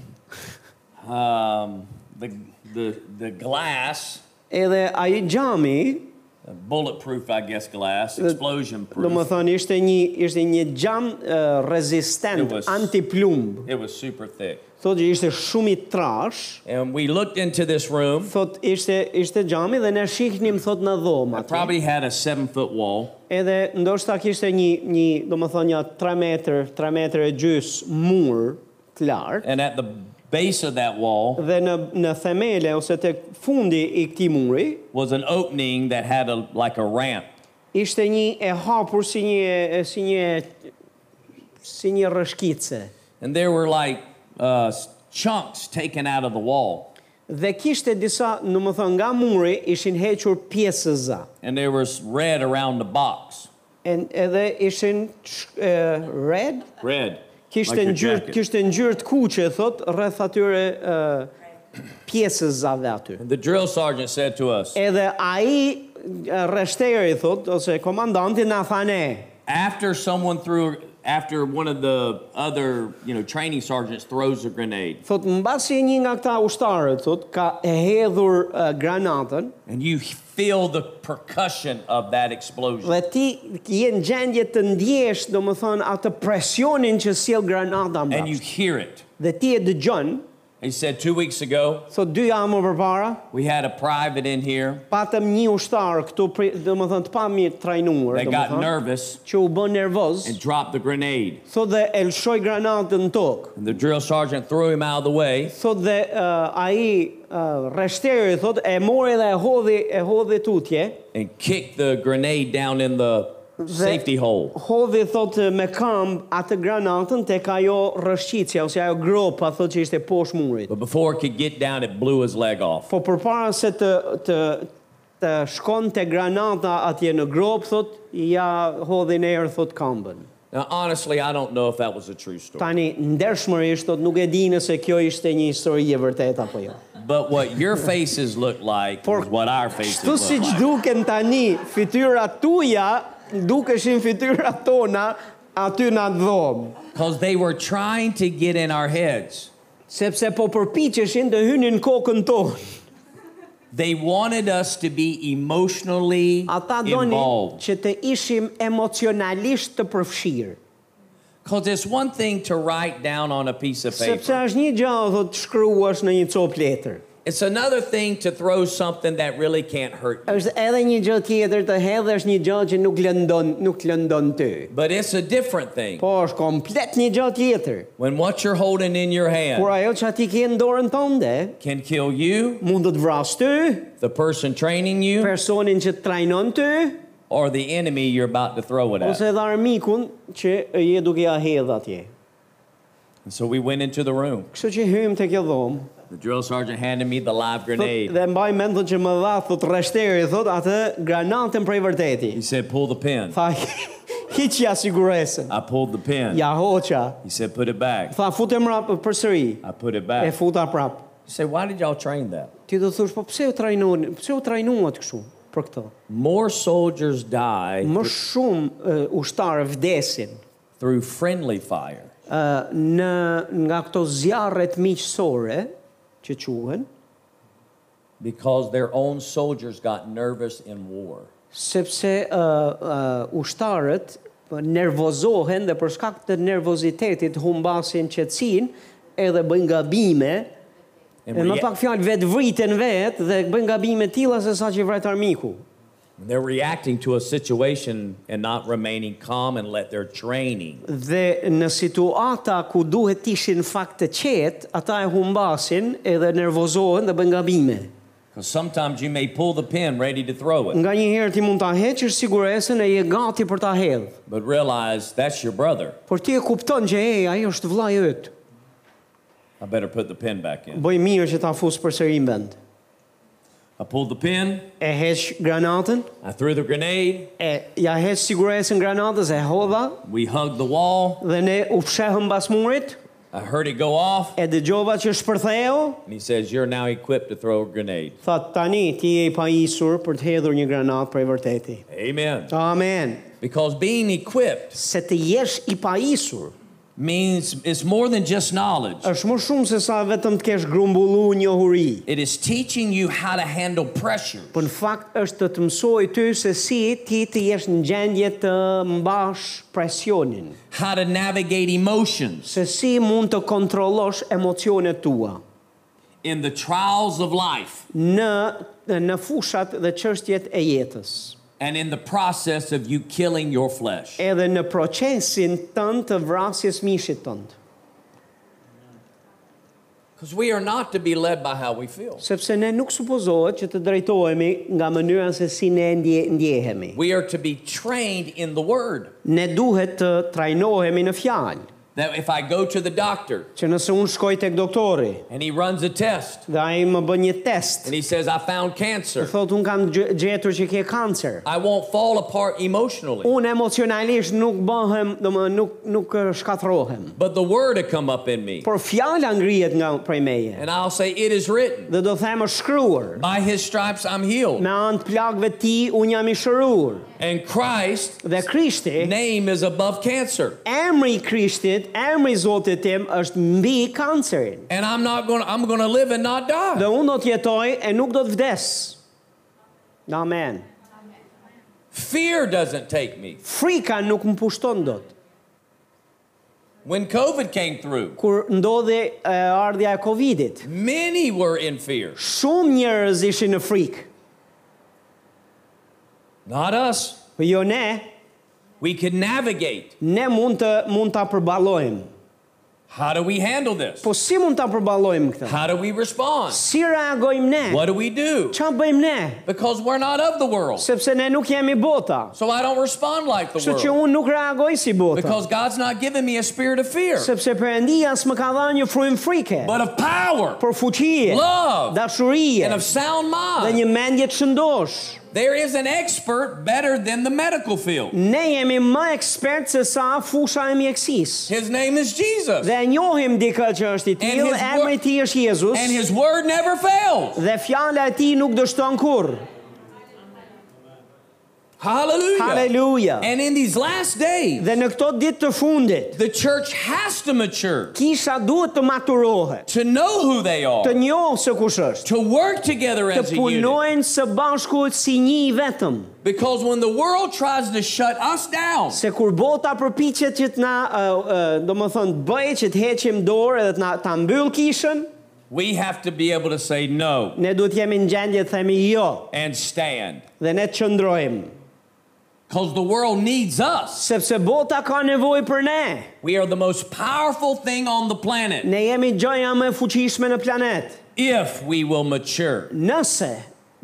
B: um, the, the, the glass, uh,
A: Edhe ai xhami,
B: bulletproof, I guess, glass, explosion proof,
A: domethënë ishte një ishte një xham uh, rezistent
B: It was-
A: antiplumb.
B: it was super thick.
A: Thotë që ishte shumë i trash.
B: And we looked into this room.
A: Thot ishte ishte xhami dhe ne shihnim thot në dhomë aty.
B: Probably had a seven foot wall.
A: Edhe ndoshta kishte një një domethënë ja 3 metër, 3 metër e gjys mur të lartë
B: And at the base of that wall
A: dhe në në themele ose tek fundi i këtij muri
B: was an opening that had a, like a ramp.
A: ishte një e hapur si një si një si një rrëshkice.
B: And there were like uh, chunks taken out of the wall.
A: Dhe kishte disa, në më thënë, nga muri ishin hequr pjesëza.
B: And there was red around the box.
A: En, edhe ishin sh- e, red,
B: Red.
A: kishte
B: like your
A: ngjyrë
B: jacket.
A: kishte ngjyrë të kuqe, thot, rreth atyre e, pjesëzave aty.
B: The drill sergeant said to us,
A: Edhe ai e, rreshteri thot ose komandanti na tha ne.
B: after someone threw, after one of the other, you know, training sergeants throws a grenade,
A: Thot mbasi një nga këta ushtarët thot ka e hedhur e, granatën
B: and you feel the percussion of that explosion.
A: Dhe ti je në gjendje të ndjesh, do më thënë, atë presionin që sjell granata
B: and you
A: mbrapsht.
B: hear it.
A: Dhe ti e dëgjon,
B: He said two weeks ago
A: thot dy jamë përpara,
B: we had a private in here
A: patëm një ushtar këtu, pri- do më thënë, të pa mirë trajnuar,
B: that
A: do më
B: got
A: thënë,
B: nervous
A: që u bën nervoz,
B: and dropped the grenade.
A: thot dhe e lëshoi granatën në tokë.
B: And the drill sergeant threw him out of the way.
A: Thot dhe uh, ai uh, reshteri thot e mori dhe e hodhi e hodhi tutje.
B: and kicked the grenade down in the safety hole.
A: Hodhi thot me këmb atë granatën tek ajo rrëshqitja ose ajo gropa thot që ishte poshtë murit.
B: But before it could get down, it blew his leg off.
A: Po përpara se të të të shkon te granata atje në grop, thot, ja hodhin erë, thot këmbën.
B: Now, honestly, I don't know if that was a true story.
A: Tani, ndershmërisht, thot, nuk e di nëse kjo ishte një histori e vërtet apo jo.
B: But what your faces look like is what our faces
A: Kështu si
B: look like.
A: duken tani, fityra tuja, dukeshin fityra tona, aty në atë dhomë.
B: Because they were trying to get in our heads.
A: Sepse po përpiqeshin të hynin në kokën tonë.
B: They wanted us to be emotionally
A: Ata donin
B: involved.
A: që të ishim emocionalisht të përfshirë.
B: Because it's one thing to write down on a piece of
A: Sepse
B: paper,
A: është një gjë, thot, të shkruash në një copë letër.
B: it's another thing to throw something that really can't hurt you.
A: është edhe një gjë tjetër të hedhë është një gjë që nuk lëndon nuk lëndon ty.
B: But it's a different thing
A: Po është komplet një gjë tjetër.
B: when what you're holding in your hand
A: Kur ajo që ti ke në dorën tënde
B: can kill you,
A: mund të të vrasë ty,
B: the person training you,
A: personin që të trajnon ty,
B: or the enemy you're about to throw it at.
A: ose edhe armikun që je duke ja hedh atje.
B: And so we went into the room.
A: Kështu që hym te kjo dhomë.
B: The drill sergeant handed me the live
A: Thot,
B: grenade.
A: dhe mbaj mend thot që më dha thot rreshteri thot atë granatën prej vërteti.
B: He said, Pull the pin.
A: Tha hiç ja siguresën.
B: I pulled the pin.
A: Ja hoqa.
B: He said, Put it back.
A: Tha futem rap përsëri.
B: I put it
A: E
B: back.
A: futa prap.
B: He said, Why did y'all train that?
A: Ti do të thosh, po pse u trajnuan? Pse u trajnuat kështu për këtë?
B: More soldiers die
A: Më shumë uh, ushtarë vdesin
B: through friendly fire
A: uh, në nga këto zjarret miqësore që quhen,
B: because their own soldiers got nervous in war.
A: sepse uh, uh, ushtarët uh, nervozohen dhe për shkak të nervozitetit humbasin qetësinë edhe bëjnë gabime E
B: And
A: më
B: rea-
A: pak fjalë vetë vriten vetë dhe bën gabime të tilla se sa që vret armiku.
B: they're reacting to a situation and not remaining calm and let their training.
A: Dhe në situata ku duhet të ishin fakt të qetë, ata e humbasin edhe nervozohen dhe bën gabime.
B: Because sometimes you may pull the pin ready to throw it,
A: Nga një herë ti mund ta heqësh siguresën e je gati për ta hedh.
B: but realize that's your brother.
A: Por ti e kupton që e, ai është vllai yt.
B: I better put the pin back in.
A: Bëj mirë që ta fus përsëri në vend.
B: I pulled the pin,
A: E heq granatën,
B: I threw the grenade,
A: e ja heq siguresën granatës, e hodha
B: we hugged the wall,
A: dhe ne u fshehëm bas murit,
B: I heard it go off,
A: e dëgjova që shpërtheu,
B: and he says, You're now equipped to throw a grenade.
A: tha tani ti je i pajisur për të hedhur një granatë prej vërteti.
B: Amen.
A: Amen.
B: Because being equipped
A: Se të jesh i pajisur
B: means it's more than just knowledge,
A: është më shumë se sa vetëm të kesh grumbullu njohuri.
B: it is teaching you how to handle pressure.
A: Po në fakt është të të mësoj ty se si ti të jesh në gjendje të mbash presionin,
B: how to navigate emotions
A: se si mund të kontrollosh emocionet tua
B: in the trials of life
A: në në fushat dhe çështjet e jetës.
B: and in the process of you killing your flesh.
A: Edhe në procesin tënd të vrasjes mishit tënd,
B: Because we are not to be led by how we feel.
A: sepse ne nuk supozohet që të drejtohemi nga mënyra se si ne ndje, ndjehemi.
B: We are to be trained in the word.
A: Ne duhet të trajnohemi në fjalë,
B: That if I go to the doctor
A: që nëse unë shkoj tek doktori
B: and he runs a test
A: dhe ai më bën një test,
B: and he says, I found cancer,
A: thotë unë kam gje- gjetur që ke kancer.
B: I won't fall apart emotionally.
A: Unë emocionalisht nuk bëhem, do më nuk, nuk eh, shkatrohem.
B: But the word will come up in me.
A: Por fjala ngrihet nga prej meje.
B: And I'll say, It is written,
A: Dhe do them është shkruar.
B: by his stripes I'm healed.
A: Me anë të plagëve ti, unë jam i shëruar.
B: And Christ's
A: Dhe Krishti,
B: name is above cancer.
A: emri i Krishtit, emri i Zotit tim është mbi kancerin.
B: And I'm not going to, I'm going to live and not die.
A: Dhe unë do të jetoj e nuk do të vdes. Amen.
B: Fear doesn't take me.
A: Frika nuk më pushton dot.
B: When COVID came through,
A: Kur ndodhi e, ardhja e Covidit,
B: many were in fear.
A: shumë njerëz ishin në frikë.
B: Not us.
A: Po jo ne,
B: We could navigate.
A: ne mund të mund ta përballojmë.
B: How do we handle this?
A: Po si mund ta përballojmë këtë?
B: How do we respond?
A: Si reagojmë ne?
B: What do we do?
A: Çfarë bëjmë ne?
B: Because we're not of the world.
A: Sepse ne nuk jemi bota.
B: So I don't respond like the
A: Kështu që
B: world.
A: unë nuk reagoj si bota.
B: Because God's not giving me a spirit of fear,
A: Sepse Perëndia s'më ka dhënë një frymë frike,
B: but of power
A: por fuqie,
B: Love.
A: dashurie
B: and of sound
A: dhe
B: mind.
A: një mendje të shëndosh.
B: There is an expert better than the medical field.
A: Ne jemi më ekspert se sa fusha e mjekësisë.
B: His name is Jesus.
A: Dhe e njohim dikë që është i
B: his
A: tillë,
B: word-
A: emri i tij është Jezus
B: And his word never fails.
A: dhe fjala e tij nuk dështon kurrë.
B: Hallelujah.
A: Haleluja.
B: And in these last days,
A: Dhe në këto ditë të fundit,
B: the church has to mature.
A: kisha duhet të maturohet,
B: to know who they are,
A: të njohë se kush është,
B: to work together
A: të
B: as a unit.
A: punojnë së bashku si një i vetëm,
B: Because when the world tries to shut us down,
A: se kur bota përpiqet që të na, uh, uh, do më thënë, bëje që të heqim dorë edhe të na ta mbyll kishën,
B: we have to be able to say no
A: ne duhet jemi në gjendje të themi jo
B: and stand.
A: dhe ne të qëndrojmë,
B: Because the world needs us.
A: sepse bota ka nevojë për ne.
B: We are the most powerful thing on the planet
A: Ne jemi gjëja më e fuqishme në planet.
B: if we will mature.
A: Nëse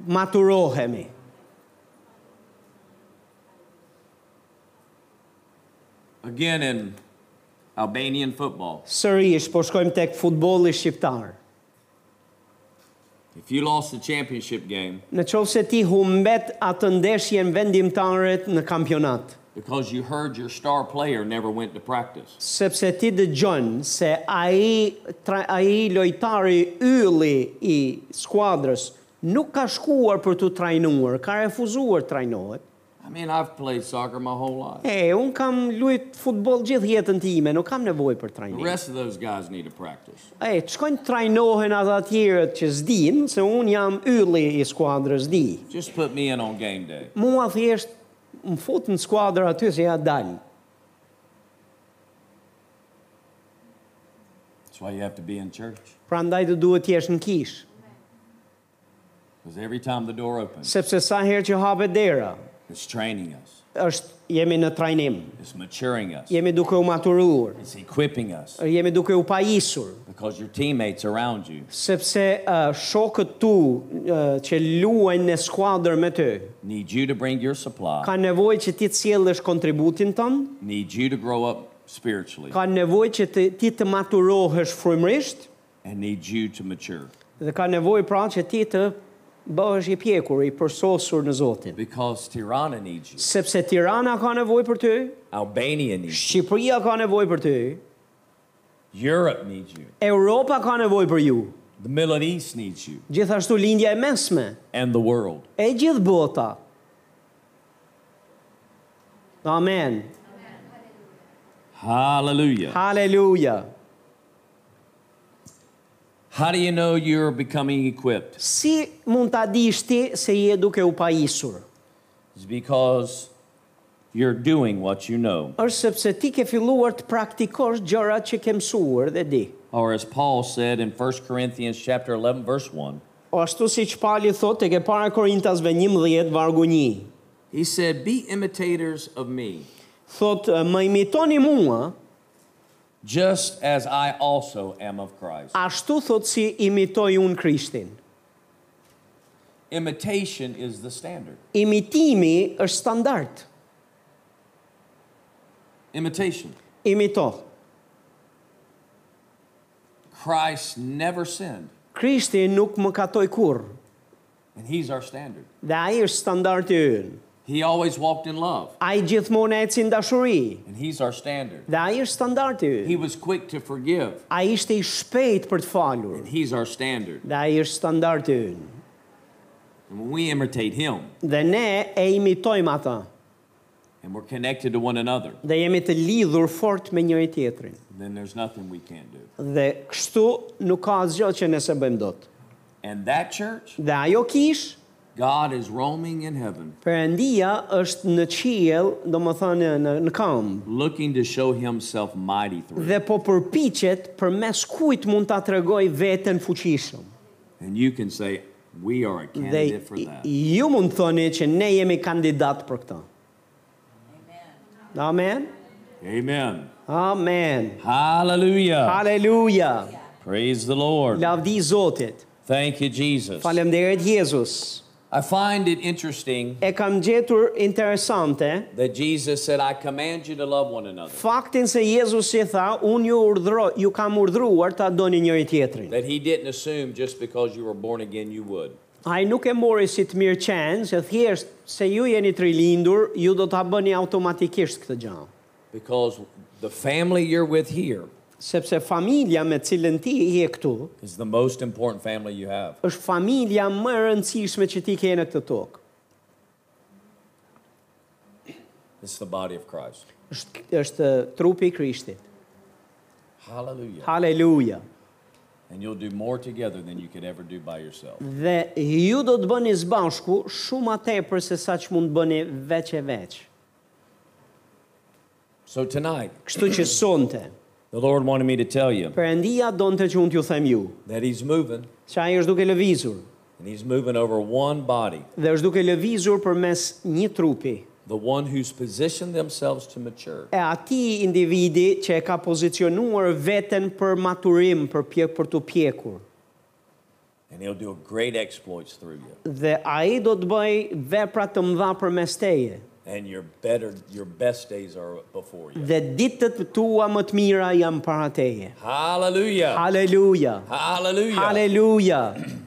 A: maturohemi,
B: Again, in Albanian football,
A: sërish po shkojmë tek futbolli shqiptar.
B: if you lost the championship game
A: Në qovë se ti humbet atë ndeshjen vendimtaret në kampionat,
B: because you heard your star player never went to practice,
A: sepse ti dëgjon se ai tra- ai lojtari ylli i skuadrës nuk ka shkuar për të trajnuar, ka refuzuar të trajnohet.
B: I mean, I've played soccer my whole life.
A: E, unë kam lujt futbol gjithë jetën time, nuk kam nevojë për
B: The
A: trajnim.
B: rest of those guys need to practice.
A: E, të shkojnë të trajnohen ata tjerët që s'din, se unë jam ylli i skuadrës di.
B: Just put me in on game day.
A: Mua thjesht më fut në skuadrë aty se ja dalë.
B: That's why you have to be in church.
A: Pra ndaj të duhet t'jesh në kishë.
B: Because every time the door opens,
A: Sepse sa herë që hapet dera,
B: it's training us,
A: është jemi në trajnim,
B: it's maturing us,
A: jemi duke u maturuar,
B: it's equipping us.
A: jemi duke u pajisur,
B: Because your teammates around you
A: sepse uh, shokët tu uh, që luajnë në skuadër me ty,
B: need you to bring your supply,
A: ka nevojë që ti të sjellësh kontributin tënd,
B: need you to grow up spiritually,
A: ka nevojë që të, ti të maturohesh frymërisht
B: and need you to mature.
A: dhe ka nevojë pra që ti të bëhesh i pjekur, i përsosur në Zotin.
B: Because Tirana needs you,
A: Sepse Tirana ka nevojë për ty,
C: Albania needs
A: Shqipëria ka nevojë për ty,
C: you. Europe needs you.
A: Europa ka nevojë për ju.
C: The Middle East needs you.
A: Gjithashtu lindja e mesme,
C: And the world.
A: e gjithë bota. Amen.
B: Hallelujah.
A: Haleluja.
B: How do you know you're becoming equipped?
A: Si mund ta dish ti se je duke u pajisur?
B: It's because you're doing what you know.
A: Është sepse ti ke filluar të praktikosh gjërat që ke mësuar dhe di.
B: Or as Paul said in 1 Corinthians chapter 11 verse 1,
A: O ashtu si që pali thot e ke para Korintasve 11 vargu 1.
B: he said, "Be imitators of me,
A: Thot, më imitoni mua,
B: just as I also am of Christ."
A: ashtu thot si imitoj unë Krishtin.
B: Imitation is the standard.
A: Imitimi është standart.
B: Imitation.
A: Imito.
B: Christ never sinned,
A: Krishti nuk më katoj kur,
B: and he's our standard.
A: dhe ai është standarti ynë.
B: He always walked in love,
A: Ai gjithmonë e ecin dashuri,
B: and he's our standard.
A: dhe ai është standarti
B: He
A: ynë.
B: was quick to forgive,
A: Ai ishte i shpejt për të falur,
B: and he's our standard.
A: dhe ai është standarti ynë.
B: And when we imitate him,
A: Dhe ne e imitojmë ata,
B: and we're connected to one another,
A: dhe jemi të lidhur fort me njëri tjetrin.
B: then there's nothing we can't do.
A: Dhe kështu nuk ka asgjë që nëse bëjmë dot.
B: And that church,
A: Dhe ajo kish,
B: God is roaming in heaven,
A: Perëndia është në qiell, domethënë në në kamp,
B: looking to show himself mighty through.
A: dhe po përpiqet përmes kujt mund ta tregoj veten fuqishëm.
B: And you can say, We are a
A: Dhe
B: candidate for
A: i-
B: that.
A: ju mund të thoni që ne jemi kandidat për këtë. Amen.
B: Amen.
A: Amen.
B: Hallelujah.
A: Haleluja.
B: Praise the Lord.
A: Lavdi Zotit.
B: Thank you, Jesus.
A: Faleminderit Jezus.
B: I find it interesting
A: E kam gjetur interesante
B: that Jesus said, I command you to love one another.
A: faktin se Jezus i tha, unë ju urdhro, ju kam urdhëruar ta doni njëri tjetrin.
B: That he didn't assume just because you were born again you would.
A: Ai nuk e mori si të mirë qenë, se thjesht se ju jeni të rilindur, ju do ta bëni automatikisht këtë gjë.
B: Because the family you're with here
A: Sepse familja me cilën ti je këtu,
C: Is the most important family you have.
A: është familja më e rëndësishme që ti ke në këtë tokë.
C: It's the body of Christ.
A: Është, është trupi i Krishtit.
C: Hallelujah.
A: Haleluja.
C: And you'll do more together than you could ever do by yourself.
A: Dhe ju do të bëni së bashku shumë më tepër se sa që mund të bëni veç e veç.
C: So tonight,
A: Kështu që sonte,
C: the Lord wanted me to tell you
A: Perëndia donte që unë t'ju them ju,
C: that He's moving,
A: që ai është duke lëvizur
C: and He's moving over one body,
A: dhe është duke lëvizur përmes një trupi.
C: the one who's positioned themselves to mature.
A: E ati individi që e ka pozicionuar veten për maturim, për pjek për të pjekur.
C: And He'll do great exploits through you.
A: Dhe ai do të bëj vepra të mëdha përmes teje.
C: And your better, your best days are before you.
A: Dhe ditët tua më të mira janë para teje.
C: Hallelujah.
A: Haleluja.
C: Hallelujah.
A: Haleluja.